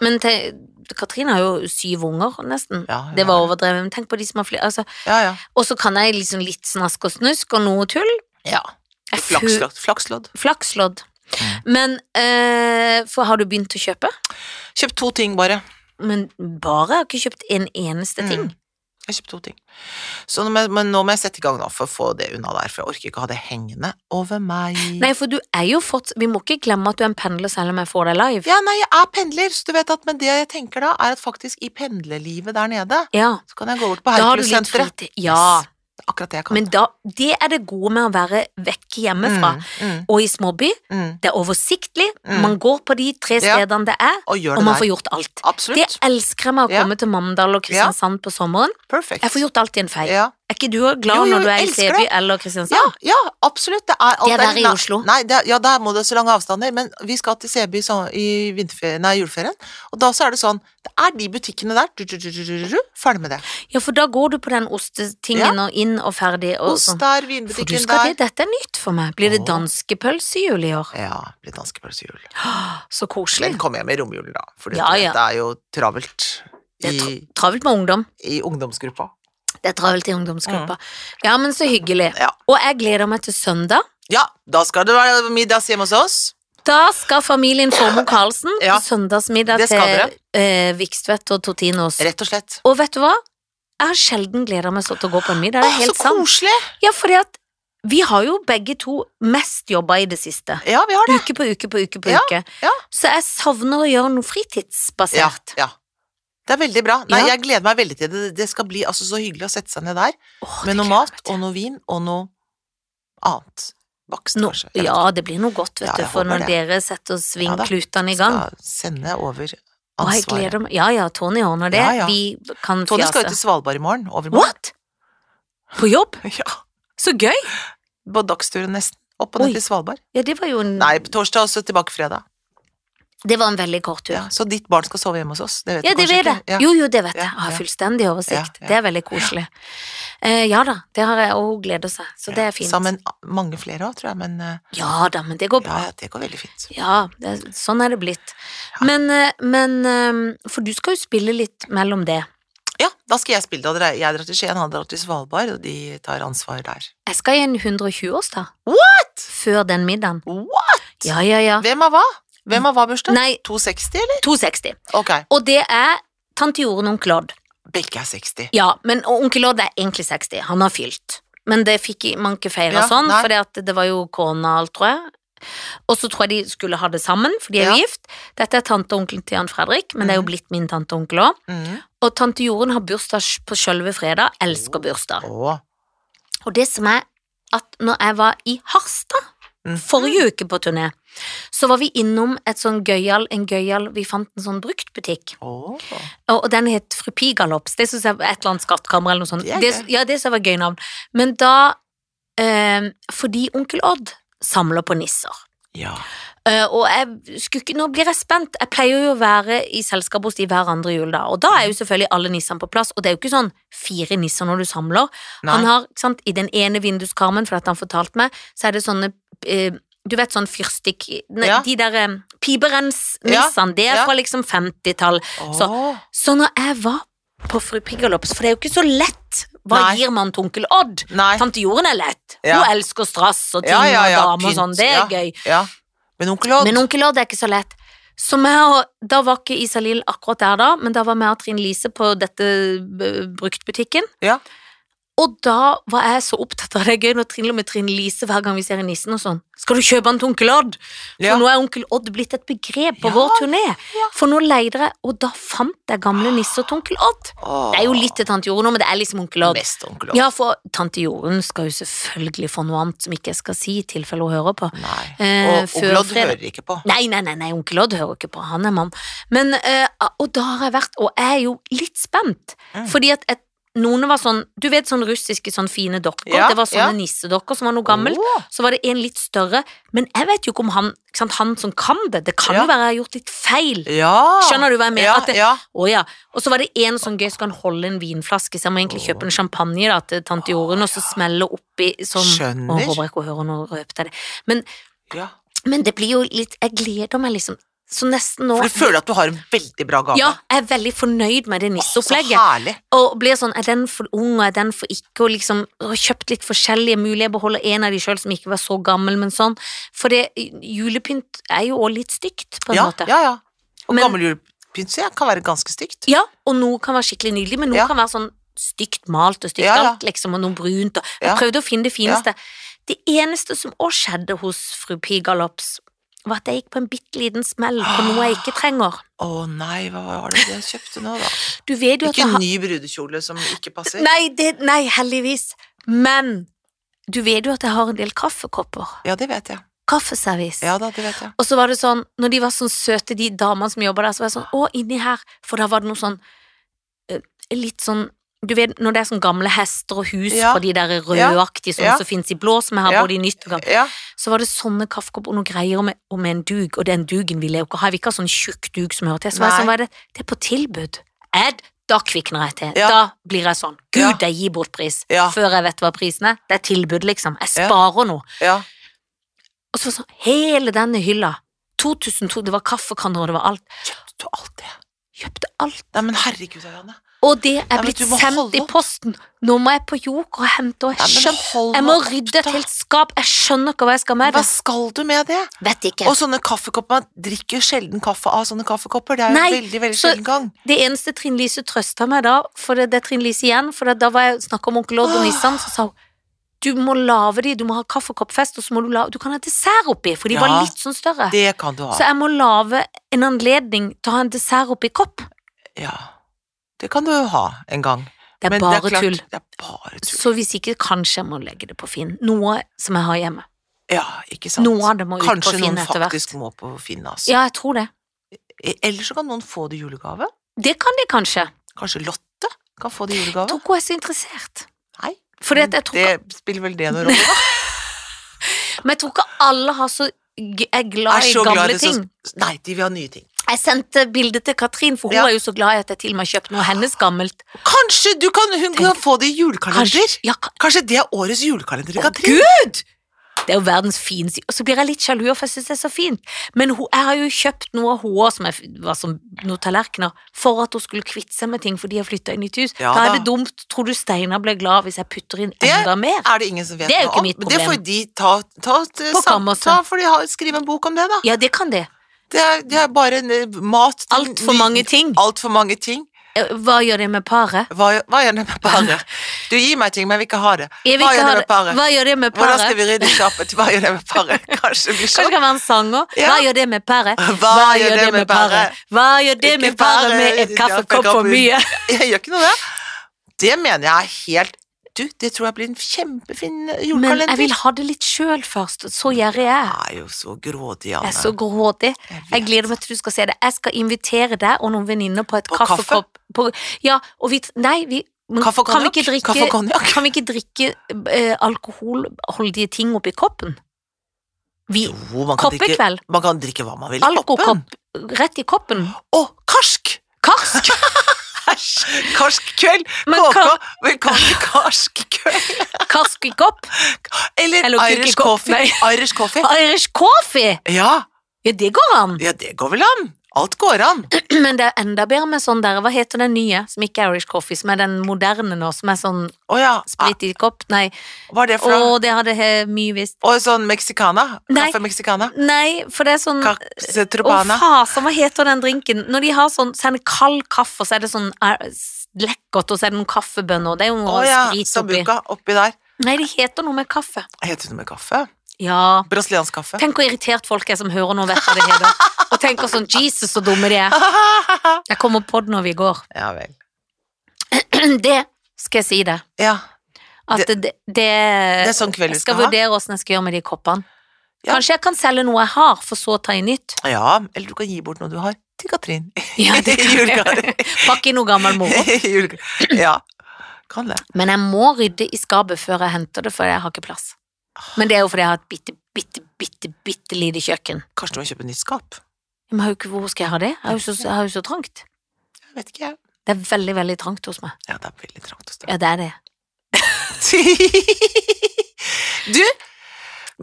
[SPEAKER 2] Men te, Katrine har jo syv unger, nesten.
[SPEAKER 1] Ja, hun
[SPEAKER 2] Det
[SPEAKER 1] har
[SPEAKER 2] var overdrevet, men tenk på de som har flere. Altså,
[SPEAKER 1] Ja, ja.
[SPEAKER 2] og så kan jeg liksom litt snask og snusk og noe tull.
[SPEAKER 1] ja.
[SPEAKER 2] Jeg fu-
[SPEAKER 1] Flakslodd. Flakslodd.
[SPEAKER 2] Flakslodd.
[SPEAKER 1] Mm.
[SPEAKER 2] Men, eh, for har du begynt å kjøpe?
[SPEAKER 1] Kjøp to ting, bare.
[SPEAKER 2] Men bare, jeg har ikke kjøpt en eneste ting.
[SPEAKER 1] Mm. Jeg kjøpte to ting. Så nå må, jeg- men nå må jeg sette i gang nå for å få det unna der, for jeg orker ikke ha det hengende over meg.
[SPEAKER 2] Nei, for du er jo fått, vi må ikke glemme at du er en pendler selv om jeg får deg live.
[SPEAKER 1] Ja, nei, jeg er pendler, så du vet at men det jeg tenker da, er at faktisk i pendlerlivet der nede,
[SPEAKER 2] ja.
[SPEAKER 1] så kan jeg gå bort på
[SPEAKER 2] Da har du litt
[SPEAKER 1] Hercules-senteret.
[SPEAKER 2] fritid. Ja,
[SPEAKER 1] Yes, det er akkurat det jeg kan.
[SPEAKER 2] men da, det er det gode med å være vekk hjemmefra.
[SPEAKER 1] Mm,
[SPEAKER 2] Og i småby,
[SPEAKER 1] mm, mm.
[SPEAKER 2] det er oversiktlig,
[SPEAKER 1] Mm.
[SPEAKER 2] man går på de tre
[SPEAKER 1] Ja.
[SPEAKER 2] stedene det er,
[SPEAKER 1] Og gjør
[SPEAKER 2] og man
[SPEAKER 1] det
[SPEAKER 2] får
[SPEAKER 1] der.
[SPEAKER 2] gjort alt. Det
[SPEAKER 1] Absolutt.
[SPEAKER 2] elsker jeg med å
[SPEAKER 1] Ja.
[SPEAKER 2] komme til Mandal og Kristiansand på sommeren.
[SPEAKER 1] Perfekt.
[SPEAKER 2] Jeg får gjort alt i en fei.
[SPEAKER 1] ja.
[SPEAKER 2] Er ikke du også glad
[SPEAKER 1] Jo, jo,
[SPEAKER 2] når du er i
[SPEAKER 1] elsker
[SPEAKER 2] Seby
[SPEAKER 1] det.
[SPEAKER 2] eller
[SPEAKER 1] Ja,
[SPEAKER 2] Kristiansand?
[SPEAKER 1] ja, absolutt. Det er, alt
[SPEAKER 2] Det er verre i
[SPEAKER 1] nei-
[SPEAKER 2] Oslo.
[SPEAKER 1] Nei, det er, ja, der må det så lange avstander. Men vi skal til Seby så, i vinterferien, nei, juleferien, og da så er det sånn Det er de butikkene der. Du, du, du, du, du, du, ferdig med det.
[SPEAKER 2] Ja. for da går du på den ostetingen og inn og ferdig og
[SPEAKER 1] Ost
[SPEAKER 2] sånn.
[SPEAKER 1] der,
[SPEAKER 2] For du
[SPEAKER 1] vinbutikken
[SPEAKER 2] skal
[SPEAKER 1] der.
[SPEAKER 2] det, dette er nytt for meg. Blir det
[SPEAKER 1] Åh.
[SPEAKER 2] danskepølsejul i år?
[SPEAKER 1] Ja, blir danskepølsejul.
[SPEAKER 2] Så
[SPEAKER 1] Men
[SPEAKER 2] koselig.
[SPEAKER 1] kom hjem i romjulen, da. For
[SPEAKER 2] Ja, ja.
[SPEAKER 1] det er jo travelt
[SPEAKER 2] Det er
[SPEAKER 1] i,
[SPEAKER 2] tra travelt med ungdom.
[SPEAKER 1] i ungdomsgruppa.
[SPEAKER 2] Det er travelt i ungdomsgruppa. Ja, men så hyggelig.
[SPEAKER 1] Mm. Ja.
[SPEAKER 2] Og jeg gleder meg til søndag.
[SPEAKER 1] Ja, da skal det være middags hjemme hos oss.
[SPEAKER 2] Da skal familien Formoe Karlsen
[SPEAKER 1] Ja.
[SPEAKER 2] på søndagsmiddag
[SPEAKER 1] Det
[SPEAKER 2] til
[SPEAKER 1] skal dere.
[SPEAKER 2] eh, Vikstvedt og Tortinos.
[SPEAKER 1] Rett og slett.
[SPEAKER 2] Og vet du hva? Jeg har sjelden gleda meg sånn til å gå på en middag. Det
[SPEAKER 1] Å, så
[SPEAKER 2] er helt sant.
[SPEAKER 1] koselig!
[SPEAKER 2] Ja, fordi at vi har jo begge to mest jobba i det siste.
[SPEAKER 1] Ja, vi har det.
[SPEAKER 2] Uke på uke på uke på
[SPEAKER 1] Ja,
[SPEAKER 2] uke.
[SPEAKER 1] ja.
[SPEAKER 2] Så jeg savner å gjøre noe
[SPEAKER 1] Ja,
[SPEAKER 2] fritidsbasert.
[SPEAKER 1] ja. Det er veldig bra. Nei,
[SPEAKER 2] Ja.
[SPEAKER 1] Jeg gleder meg veldig til det. Det skal bli altså, så hyggelig å sette seg ned der
[SPEAKER 2] Åh,
[SPEAKER 1] med
[SPEAKER 2] det
[SPEAKER 1] noe
[SPEAKER 2] gleder jeg
[SPEAKER 1] mat og noe vin og noe annet. Bakst,
[SPEAKER 2] meg
[SPEAKER 1] kanskje.
[SPEAKER 2] til. Nå,
[SPEAKER 1] Jeg
[SPEAKER 2] ja,
[SPEAKER 1] vet ikke.
[SPEAKER 2] det blir noe godt, vet
[SPEAKER 1] Ja,
[SPEAKER 2] du,
[SPEAKER 1] jeg
[SPEAKER 2] for
[SPEAKER 1] håper
[SPEAKER 2] når
[SPEAKER 1] det.
[SPEAKER 2] dere setter
[SPEAKER 1] Ja da.
[SPEAKER 2] svingklutene i gang.
[SPEAKER 1] Skal sende over
[SPEAKER 2] Å, jeg
[SPEAKER 1] ansvaret.
[SPEAKER 2] gleder meg. altså. Ja, ja, Tony ordner det.
[SPEAKER 1] Ja, ja.
[SPEAKER 2] Vi kan
[SPEAKER 1] Tony skal jo
[SPEAKER 2] fjase.
[SPEAKER 1] til Svalbard i morgen. Overmorgen.
[SPEAKER 2] What? På jobb?
[SPEAKER 1] Ja,
[SPEAKER 2] Så gøy!
[SPEAKER 1] på dagsturen nesten. Opp og
[SPEAKER 2] Oi.
[SPEAKER 1] ned til Svalbard.
[SPEAKER 2] Ja, det var jo en
[SPEAKER 1] Nei, på torsdag og så tilbake fredag.
[SPEAKER 2] Det var en veldig kort tur.
[SPEAKER 1] Ja, så ditt barn skal sove hjemme hos oss. Det vet
[SPEAKER 2] Ja,
[SPEAKER 1] du
[SPEAKER 2] det
[SPEAKER 1] kanskje
[SPEAKER 2] vet jeg.
[SPEAKER 1] ikke? Ja.
[SPEAKER 2] Jo, jo, det vet
[SPEAKER 1] Ja,
[SPEAKER 2] jeg. Jeg har
[SPEAKER 1] ja.
[SPEAKER 2] fullstendig oversikt.
[SPEAKER 1] Ja, ja.
[SPEAKER 2] Det er veldig koselig. Eh, ja da, det har jeg, og hun gleder seg, så det er fint.
[SPEAKER 1] Sammen mange flere òg, tror jeg, men eh,
[SPEAKER 2] Ja da, men det går
[SPEAKER 1] ja,
[SPEAKER 2] bra.
[SPEAKER 1] ja, det går veldig fint.
[SPEAKER 2] Ja, det, sånn er det blitt. Men, eh, men eh, For du skal jo spille litt mellom det.
[SPEAKER 1] Ja, da skal jeg spille. Da drar jeg- Jeg drar til Skien, han drar til Svalbard, og de tar ansvar der.
[SPEAKER 2] Jeg skal i en 120-årsdag.
[SPEAKER 1] What?!
[SPEAKER 2] Før den middagen.
[SPEAKER 1] What?!
[SPEAKER 2] Ja, ja, ja.
[SPEAKER 1] Hvem av hva? Hvem av hva bursdag?
[SPEAKER 2] Nei,
[SPEAKER 1] 260, eller?
[SPEAKER 2] 260.
[SPEAKER 1] Ok,
[SPEAKER 2] Og det er tante Jorunn og onkel Odd.
[SPEAKER 1] begge er 60.
[SPEAKER 2] Ja, men og onkel Odd er egentlig 60. Han har fylt. Men det fikk i- man ikke feira
[SPEAKER 1] Ja,
[SPEAKER 2] sånn,
[SPEAKER 1] nei.
[SPEAKER 2] for det var jo korona og alt, tror jeg. Og så tror jeg de skulle ha det sammen, for de er jo
[SPEAKER 1] Ja.
[SPEAKER 2] gift. Dette er tante og onkelen til Jan Fredrik, men det er jo
[SPEAKER 1] Mhm.
[SPEAKER 2] blitt min tante og onkel òg.
[SPEAKER 1] Mm.
[SPEAKER 2] Og tante Jorunn har bursdag på sjølve fredag. Elsker bursdag.
[SPEAKER 1] Å.
[SPEAKER 2] Og det som er at når jeg var i Harstad
[SPEAKER 1] Mhm.
[SPEAKER 2] forrige uke på turné, så var vi innom et sånn gøyal, en gøyal Vi fant en sånn bruktbutikk.
[SPEAKER 1] Å.
[SPEAKER 2] Og, og den het Fru Pigalops. Det syns jeg var et eller annet skattkammer eller noe sånt.
[SPEAKER 1] Det er
[SPEAKER 2] Det,
[SPEAKER 1] gøy.
[SPEAKER 2] ja, det synes jeg var et gøy navn. Men da eh, Fordi onkel Odd samler på nisser.
[SPEAKER 1] Ja.
[SPEAKER 2] Eh, og jeg skulle ikke, nå blir jeg spent. Jeg pleier jo å være i selskap hos de hver andre jul, da. Og da er jo selvfølgelig alle nissene på plass. Og det er jo ikke sånn fire nisser når du samler. Han
[SPEAKER 1] Nei.
[SPEAKER 2] har, ikke sant, I den ene vinduskarmen, for dette har han fortalt meg, så er det sånne eh, du vet sånn fyrstikk... Nei,
[SPEAKER 1] Ja.
[SPEAKER 2] De der eh, piberensnissene, det er
[SPEAKER 1] ja.
[SPEAKER 2] fra liksom 50-tall. Så-
[SPEAKER 1] Å.
[SPEAKER 2] Så når jeg var på Fru Pigalops, for det er jo ikke så lett Hva
[SPEAKER 1] Nei.
[SPEAKER 2] gir man til onkel Odd?
[SPEAKER 1] Nei.
[SPEAKER 2] Tante Jorunn er lett.
[SPEAKER 1] Ja.
[SPEAKER 2] Hun elsker strass og ting
[SPEAKER 1] Ja, ja, ja,
[SPEAKER 2] og damer og
[SPEAKER 1] pynt,
[SPEAKER 2] sånn. Det er
[SPEAKER 1] ja.
[SPEAKER 2] gøy.
[SPEAKER 1] Ja. Men onkel Odd
[SPEAKER 2] Men onkel Odd er ikke så lett. Så meg og, Da var ikke Isalill akkurat der da, men da var meg og Trine Lise på dette eh, bruktbutikken.
[SPEAKER 1] Ja.
[SPEAKER 2] Og da var jeg så opptatt av det gøy når til og med Trine Lise hver gang vi ser Nissen og sånn. Skal du kjøpe han til onkel Odd? For
[SPEAKER 1] Ja.
[SPEAKER 2] nå er onkel Odd blitt et begrep på
[SPEAKER 1] Ja,
[SPEAKER 2] vår turné. For nå leide jeg, og da fant jeg gamle nisser til onkel Odd. Det er jo litt til tante Jorunn nå, men det er liksom onkel Odd.
[SPEAKER 1] Mest onkel Odd.
[SPEAKER 2] Ja, for tante Jorunn skal jo selvfølgelig få noe annet som ikke jeg skal si, i tilfelle hun hører på.
[SPEAKER 1] Nei.
[SPEAKER 2] Eh,
[SPEAKER 1] Og
[SPEAKER 2] før
[SPEAKER 1] onkel Odd
[SPEAKER 2] fredag.
[SPEAKER 1] hører ikke på.
[SPEAKER 2] Nei, nei, nei, nei, onkel Odd hører ikke på, han er mann. Men, eh, og da har jeg vært, og jeg er jo litt spent,
[SPEAKER 1] Mm.
[SPEAKER 2] fordi at et, noen var sånn, du vet sånn russiske sånn fine dokker,
[SPEAKER 1] Ja,
[SPEAKER 2] det var sånne
[SPEAKER 1] ja. Oh.
[SPEAKER 2] nissedokker som var noe gammelt,
[SPEAKER 1] Åh,
[SPEAKER 2] så var det en litt større, men jeg vet jo ikke om han, ikke sant, han som kan det, det kan
[SPEAKER 1] Ja.
[SPEAKER 2] jo være jeg har gjort litt feil.
[SPEAKER 1] Ja.
[SPEAKER 2] Skjønner du hva jeg mener?
[SPEAKER 1] Ja,
[SPEAKER 2] At det,
[SPEAKER 1] ja.
[SPEAKER 2] å ja. Og så var det en sånn gøy, skal han holde en vinflaske, så jeg må egentlig kjøpe en champagne da, til tante Jorunn, og så smelle oppi sånn. Å,
[SPEAKER 1] Skjønner.
[SPEAKER 2] håper jeg ikke hun hører noe røpet av det.
[SPEAKER 1] Ja.
[SPEAKER 2] Men det blir jo litt Jeg gleder meg liksom så nesten nå
[SPEAKER 1] For du føler at du har en veldig bra gave.
[SPEAKER 2] ja, jeg er veldig fornøyd med det
[SPEAKER 1] Åh, så
[SPEAKER 2] nisseopplegget.
[SPEAKER 1] herlig.
[SPEAKER 2] Og blir sånn, er den for ung, og er den for ikke, og liksom og har kjøpt litt forskjellige mulige. Jeg beholder en av de sjøl som ikke var så gammel, men sånn. For det, julepynt er jo òg litt stygt, på en
[SPEAKER 1] Ja,
[SPEAKER 2] måte.
[SPEAKER 1] ja, ja. Og
[SPEAKER 2] Men-
[SPEAKER 1] gammel julepynt så ja, kan være ganske stygt.
[SPEAKER 2] Ja, og noe kan være skikkelig nydelig, men noe
[SPEAKER 1] Ja.
[SPEAKER 2] kan være sånn stygt malt og stygt
[SPEAKER 1] Ja, ja.
[SPEAKER 2] alt, liksom, og noe brunt. Og jeg
[SPEAKER 1] Ja.
[SPEAKER 2] prøvde å finne det fineste. Det eneste som òg skjedde hos fru Pigalops, var at jeg gikk på en bitte liten smell på noe jeg ikke trenger.
[SPEAKER 1] Å nei, hva var det jeg kjøpte nå, da?
[SPEAKER 2] Du vet jo
[SPEAKER 1] Ikke
[SPEAKER 2] at jeg
[SPEAKER 1] en
[SPEAKER 2] har
[SPEAKER 1] ny brudekjole som ikke passer?
[SPEAKER 2] nei, det, nei, heldigvis. Men du vet jo at jeg har en del kaffekopper.
[SPEAKER 1] Ja, det vet jeg.
[SPEAKER 2] Kaffeservis.
[SPEAKER 1] Ja da, det vet jeg.
[SPEAKER 2] Og så var det sånn, når de var sånn søte, de damene som jobba der, så var jeg sånn, å, inni her, for da var det noe sånn, eh, litt sånn, du vet, når det er sånn gamle hester og hus
[SPEAKER 1] Ja.
[SPEAKER 2] på de der rødaktige, sånne
[SPEAKER 1] Ja.
[SPEAKER 2] som finnes i blå, som jeg har
[SPEAKER 1] Ja.
[SPEAKER 2] både i nytt og gammelt,
[SPEAKER 1] Ja,
[SPEAKER 2] så var det sånne kaffekopper og noen greier med, og med en dug, og den dugen ville jeg jo ikke ha, jeg vil ikke ha sånn tjukk dug som hører til, så var jeg
[SPEAKER 1] Nei.
[SPEAKER 2] sånn, hva er det, det er på tilbud. Ed, da kvikner jeg til,
[SPEAKER 1] Ja.
[SPEAKER 2] da blir jeg sånn,
[SPEAKER 1] Ja.
[SPEAKER 2] gud, jeg gir bort pris,
[SPEAKER 1] Ja.
[SPEAKER 2] før jeg vet hva prisen er, det er tilbud liksom, jeg
[SPEAKER 1] Ja.
[SPEAKER 2] sparer noe.
[SPEAKER 1] ja.
[SPEAKER 2] Og så var det sånn, hele denne hylla 2002, det var kaffekanner og det var alt
[SPEAKER 1] Kjøpte du alt det?
[SPEAKER 2] Kjøpte alt
[SPEAKER 1] Nei, men herregud, Arianne.
[SPEAKER 2] Og det er
[SPEAKER 1] men
[SPEAKER 2] blitt
[SPEAKER 1] du må
[SPEAKER 2] sendt
[SPEAKER 1] holde
[SPEAKER 2] i
[SPEAKER 1] opp.
[SPEAKER 2] posten Nå må jeg på joker og hente og
[SPEAKER 1] Nei,
[SPEAKER 2] jeg,
[SPEAKER 1] men
[SPEAKER 2] skjønner,
[SPEAKER 1] hold
[SPEAKER 2] jeg må
[SPEAKER 1] nå opp,
[SPEAKER 2] rydde
[SPEAKER 1] da.
[SPEAKER 2] et helt skap Jeg skjønner ikke hva jeg skal med
[SPEAKER 1] Hva
[SPEAKER 2] det
[SPEAKER 1] skal du med det?
[SPEAKER 2] Vet ikke
[SPEAKER 1] Og sånne kaffekopper, man drikker jo sjelden kaffe av sånne kaffekopper, det er jo
[SPEAKER 2] Nei,
[SPEAKER 1] veldig, veldig
[SPEAKER 2] så-
[SPEAKER 1] sjelden gang.
[SPEAKER 2] Det eneste Trine Lise trøstet meg da For det, det er Trine Lise igjen For da var jeg snakket om onkel Odd og Nissan Så sa hun Du må lave de, du må ha kaffekoppfest Og så må du lave, du kan ha dessert oppi For de var
[SPEAKER 1] Ja,
[SPEAKER 2] litt sånn større
[SPEAKER 1] Det kan du ha.
[SPEAKER 2] Så jeg må lave en anledning Til å ha en dessert oppi kopp
[SPEAKER 1] Ja. Det kan du jo ha en gang.
[SPEAKER 2] Det er
[SPEAKER 1] Men
[SPEAKER 2] bare
[SPEAKER 1] klart,
[SPEAKER 2] tull
[SPEAKER 1] Det er bare tull.
[SPEAKER 2] Så hvis ikke, kanskje jeg må legge det på Finn. Noe som jeg har hjemme.
[SPEAKER 1] Ja, ikke sant.
[SPEAKER 2] Noe av det må ut
[SPEAKER 1] Kanskje
[SPEAKER 2] på Finn
[SPEAKER 1] noen
[SPEAKER 2] etter hvert.
[SPEAKER 1] faktisk må på Finn, altså.
[SPEAKER 2] Ja, jeg tror det.
[SPEAKER 1] Eller så kan noen få det i julegave.
[SPEAKER 2] Det kan de kanskje.
[SPEAKER 1] Kanskje Lotte kan få det i
[SPEAKER 2] Jeg
[SPEAKER 1] julegave.
[SPEAKER 2] tror ikke hun er så interessert.
[SPEAKER 1] Nei,
[SPEAKER 2] Fordi at jeg tror
[SPEAKER 1] det spiller vel det noen rolle.
[SPEAKER 2] ikke- Men jeg tror ikke alle har så, g- er glad
[SPEAKER 1] Er
[SPEAKER 2] i
[SPEAKER 1] så glad i
[SPEAKER 2] gamle
[SPEAKER 1] det som-
[SPEAKER 2] ting.
[SPEAKER 1] Nei, de vil ha nye ting.
[SPEAKER 2] Jeg sendte bilde til Katrin, for hun
[SPEAKER 1] Ja.
[SPEAKER 2] er jo så glad i at jeg til og med har kjøpt noe hennes gammelt.
[SPEAKER 1] Kanskje du kan, hun kan få det i julekalender?
[SPEAKER 2] ja, ka-
[SPEAKER 1] Kanskje det er årets julekalender,
[SPEAKER 2] Å,
[SPEAKER 1] Katrin?
[SPEAKER 2] Gud! Det er jo verdens fineste Og så blir jeg litt sjalu, for jeg syns det er så fint. Men hun, jeg har jo kjøpt noe av henne som jeg, f- var som noen tallerkener, for at hun skulle kvitte seg med ting fordi jeg flytta i nytt hus.
[SPEAKER 1] Ja
[SPEAKER 2] da
[SPEAKER 1] da.
[SPEAKER 2] er det dumt. Tror du Steinar blir glad hvis jeg putter inn
[SPEAKER 1] Det
[SPEAKER 2] enda mer?
[SPEAKER 1] er det ingen som vet
[SPEAKER 2] Det er jo ikke
[SPEAKER 1] noe om.
[SPEAKER 2] mitt
[SPEAKER 1] men Det får
[SPEAKER 2] problem.
[SPEAKER 1] de ta, ta, ta,
[SPEAKER 2] På
[SPEAKER 1] sam-
[SPEAKER 2] kammerset.
[SPEAKER 1] ta får de ha, skrive en bok om det, da.
[SPEAKER 2] Ja, det kan det.
[SPEAKER 1] Det er, det er bare en, eh, mat til
[SPEAKER 2] Altfor
[SPEAKER 1] ny-
[SPEAKER 2] mange ting.
[SPEAKER 1] Altfor mange ting.
[SPEAKER 2] Eh, Hva gjør det med paret?
[SPEAKER 1] Hva, hva gjør det med paret? Du gir meg ting, men jeg vil ikke ha det.
[SPEAKER 2] Jeg vil
[SPEAKER 1] hva
[SPEAKER 2] ikke
[SPEAKER 1] gjør
[SPEAKER 2] ha
[SPEAKER 1] det med paret?
[SPEAKER 2] Hva gjør det med
[SPEAKER 1] Hvordan skal
[SPEAKER 2] paret?
[SPEAKER 1] vi rydde skapet? Hva gjør det med paret? Kanskje det blir
[SPEAKER 2] Kanskje det
[SPEAKER 1] sånn.
[SPEAKER 2] kan være en sanger? Hva
[SPEAKER 1] Ja.
[SPEAKER 2] gjør det med paret?
[SPEAKER 1] Hva gjør det med paret?
[SPEAKER 2] Hva gjør det
[SPEAKER 1] Ikke
[SPEAKER 2] med paret
[SPEAKER 1] bare
[SPEAKER 2] med et
[SPEAKER 1] en
[SPEAKER 2] kaffekopp for
[SPEAKER 1] kaffekopp.
[SPEAKER 2] mye?
[SPEAKER 1] Jeg gjør ikke noe, det. Det mener jeg er helt Du, det tror jeg blir en kjempefin
[SPEAKER 2] Men jeg
[SPEAKER 1] julekalender.
[SPEAKER 2] vil ha det litt sjøl først. Så gjerrig er jeg.
[SPEAKER 1] Jeg er jo så grådig, Anne.
[SPEAKER 2] Jeg er så grådig.
[SPEAKER 1] Jeg vet.
[SPEAKER 2] Jeg gleder meg til du skal se det. Jeg skal invitere deg og noen venninner på et
[SPEAKER 1] På kaffe?
[SPEAKER 2] kaffekopp. På, ja, og vi Nei, vi men
[SPEAKER 1] Kaffe og
[SPEAKER 2] kan vi,
[SPEAKER 1] konjakk?
[SPEAKER 2] ikke drikke,
[SPEAKER 1] Kaffe og konjakk?
[SPEAKER 2] kan vi ikke drikke eh, alkoholholdige ting oppi koppen? Vi,
[SPEAKER 1] Jo, man kan, drikke,
[SPEAKER 2] koppekveld.
[SPEAKER 1] man kan drikke hva man vil. i koppen.
[SPEAKER 2] Alkokopp. Rett i koppen.
[SPEAKER 1] Å, karsk!
[SPEAKER 2] Karsk!
[SPEAKER 1] Karsk kveld!
[SPEAKER 2] Men
[SPEAKER 1] KK,
[SPEAKER 2] kan-
[SPEAKER 1] velkommen til karsk kveld!
[SPEAKER 2] Karsk i kopp.
[SPEAKER 1] Eller
[SPEAKER 2] Eller kukekopp,
[SPEAKER 1] Irish coffee. Irish coffee.
[SPEAKER 2] Irish coffee!
[SPEAKER 1] Ja,
[SPEAKER 2] Ja, det går an.
[SPEAKER 1] ja, det går vel an. Alt går an.
[SPEAKER 2] Men det er enda bedre med sånn der Hva heter den nye, som ikke er Irish coffee, som er den moderne nå, som er sånn
[SPEAKER 1] Å ja. ah,
[SPEAKER 2] sprit i kopp? Nei.
[SPEAKER 1] Hva er det for noe?
[SPEAKER 2] Å, det hadde he- mye visst.
[SPEAKER 1] Og sånn mexicana?
[SPEAKER 2] Nei.
[SPEAKER 1] Kaffe mexicana?
[SPEAKER 2] Nei, for det er sånn Å,
[SPEAKER 1] Capse trubana?
[SPEAKER 2] fasen, hva heter den drinken? Når de har sånn, så er det kald kaffe, og så er det sånn er- s- lekkert, og så er det noen kaffebønner, og det er jo noe
[SPEAKER 1] Å ja,
[SPEAKER 2] sprit oppi.
[SPEAKER 1] sambuca oppi der.
[SPEAKER 2] Nei, det heter noe med kaffe.
[SPEAKER 1] Heter det noe med kaffe?
[SPEAKER 2] Ja.
[SPEAKER 1] Brasiliansk kaffe.
[SPEAKER 2] Tenk hvor irritert folk er som hører nå, vet hva det heter. Og tenker sånn Jesus, så dumme de er. Jeg kommer på det når vi går.
[SPEAKER 1] ja vel.
[SPEAKER 2] Det skal jeg si det.
[SPEAKER 1] Ja.
[SPEAKER 2] At det, det,
[SPEAKER 1] Det er sånn kveld
[SPEAKER 2] Jeg
[SPEAKER 1] vi skal
[SPEAKER 2] skal
[SPEAKER 1] ha.
[SPEAKER 2] vurdere åssen jeg skal gjøre med de koppene.
[SPEAKER 1] Ja.
[SPEAKER 2] Kanskje jeg kan selge noe jeg har, for så å ta i nytt.
[SPEAKER 1] Ja, eller du kan gi bort noe du har til Katrin.
[SPEAKER 2] Ja, det kan
[SPEAKER 1] Julegave.
[SPEAKER 2] jeg. Pakke i noe gammel moro.
[SPEAKER 1] Julegave. ja, kan det.
[SPEAKER 2] Men jeg må rydde i skapet før jeg henter det, for jeg har ikke plass. Men det er jo fordi jeg har et bitte, bitte, bitte, bitte lite kjøkken.
[SPEAKER 1] Kanskje du må kjøpe nytt skap?
[SPEAKER 2] Men jeg har jo ikke, hvor skal jeg ha det? Jeg har jo så, jeg har jo så trangt.
[SPEAKER 1] Jeg vet ikke, jeg.
[SPEAKER 2] Det er veldig, veldig trangt hos meg.
[SPEAKER 1] Ja, det er veldig trangt hos deg.
[SPEAKER 2] Ja, det er det.
[SPEAKER 1] Du,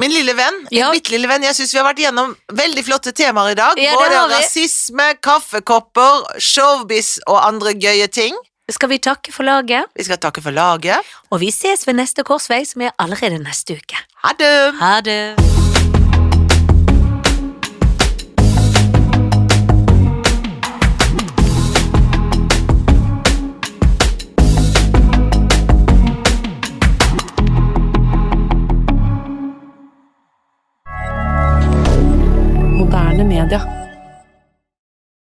[SPEAKER 1] min lille venn,
[SPEAKER 2] Ja.
[SPEAKER 1] mitt lille venn, jeg syns vi har vært gjennom veldig flotte temaer i dag.
[SPEAKER 2] Ja, det
[SPEAKER 1] Både
[SPEAKER 2] har vi.
[SPEAKER 1] rasisme, kaffekopper, showbiz og andre gøye ting.
[SPEAKER 2] Skal vi takke for laget?
[SPEAKER 1] Vi skal takke for laget.
[SPEAKER 2] Og vi ses ved neste korsvei, som er allerede neste uke.
[SPEAKER 1] Ha det!
[SPEAKER 2] Ha det!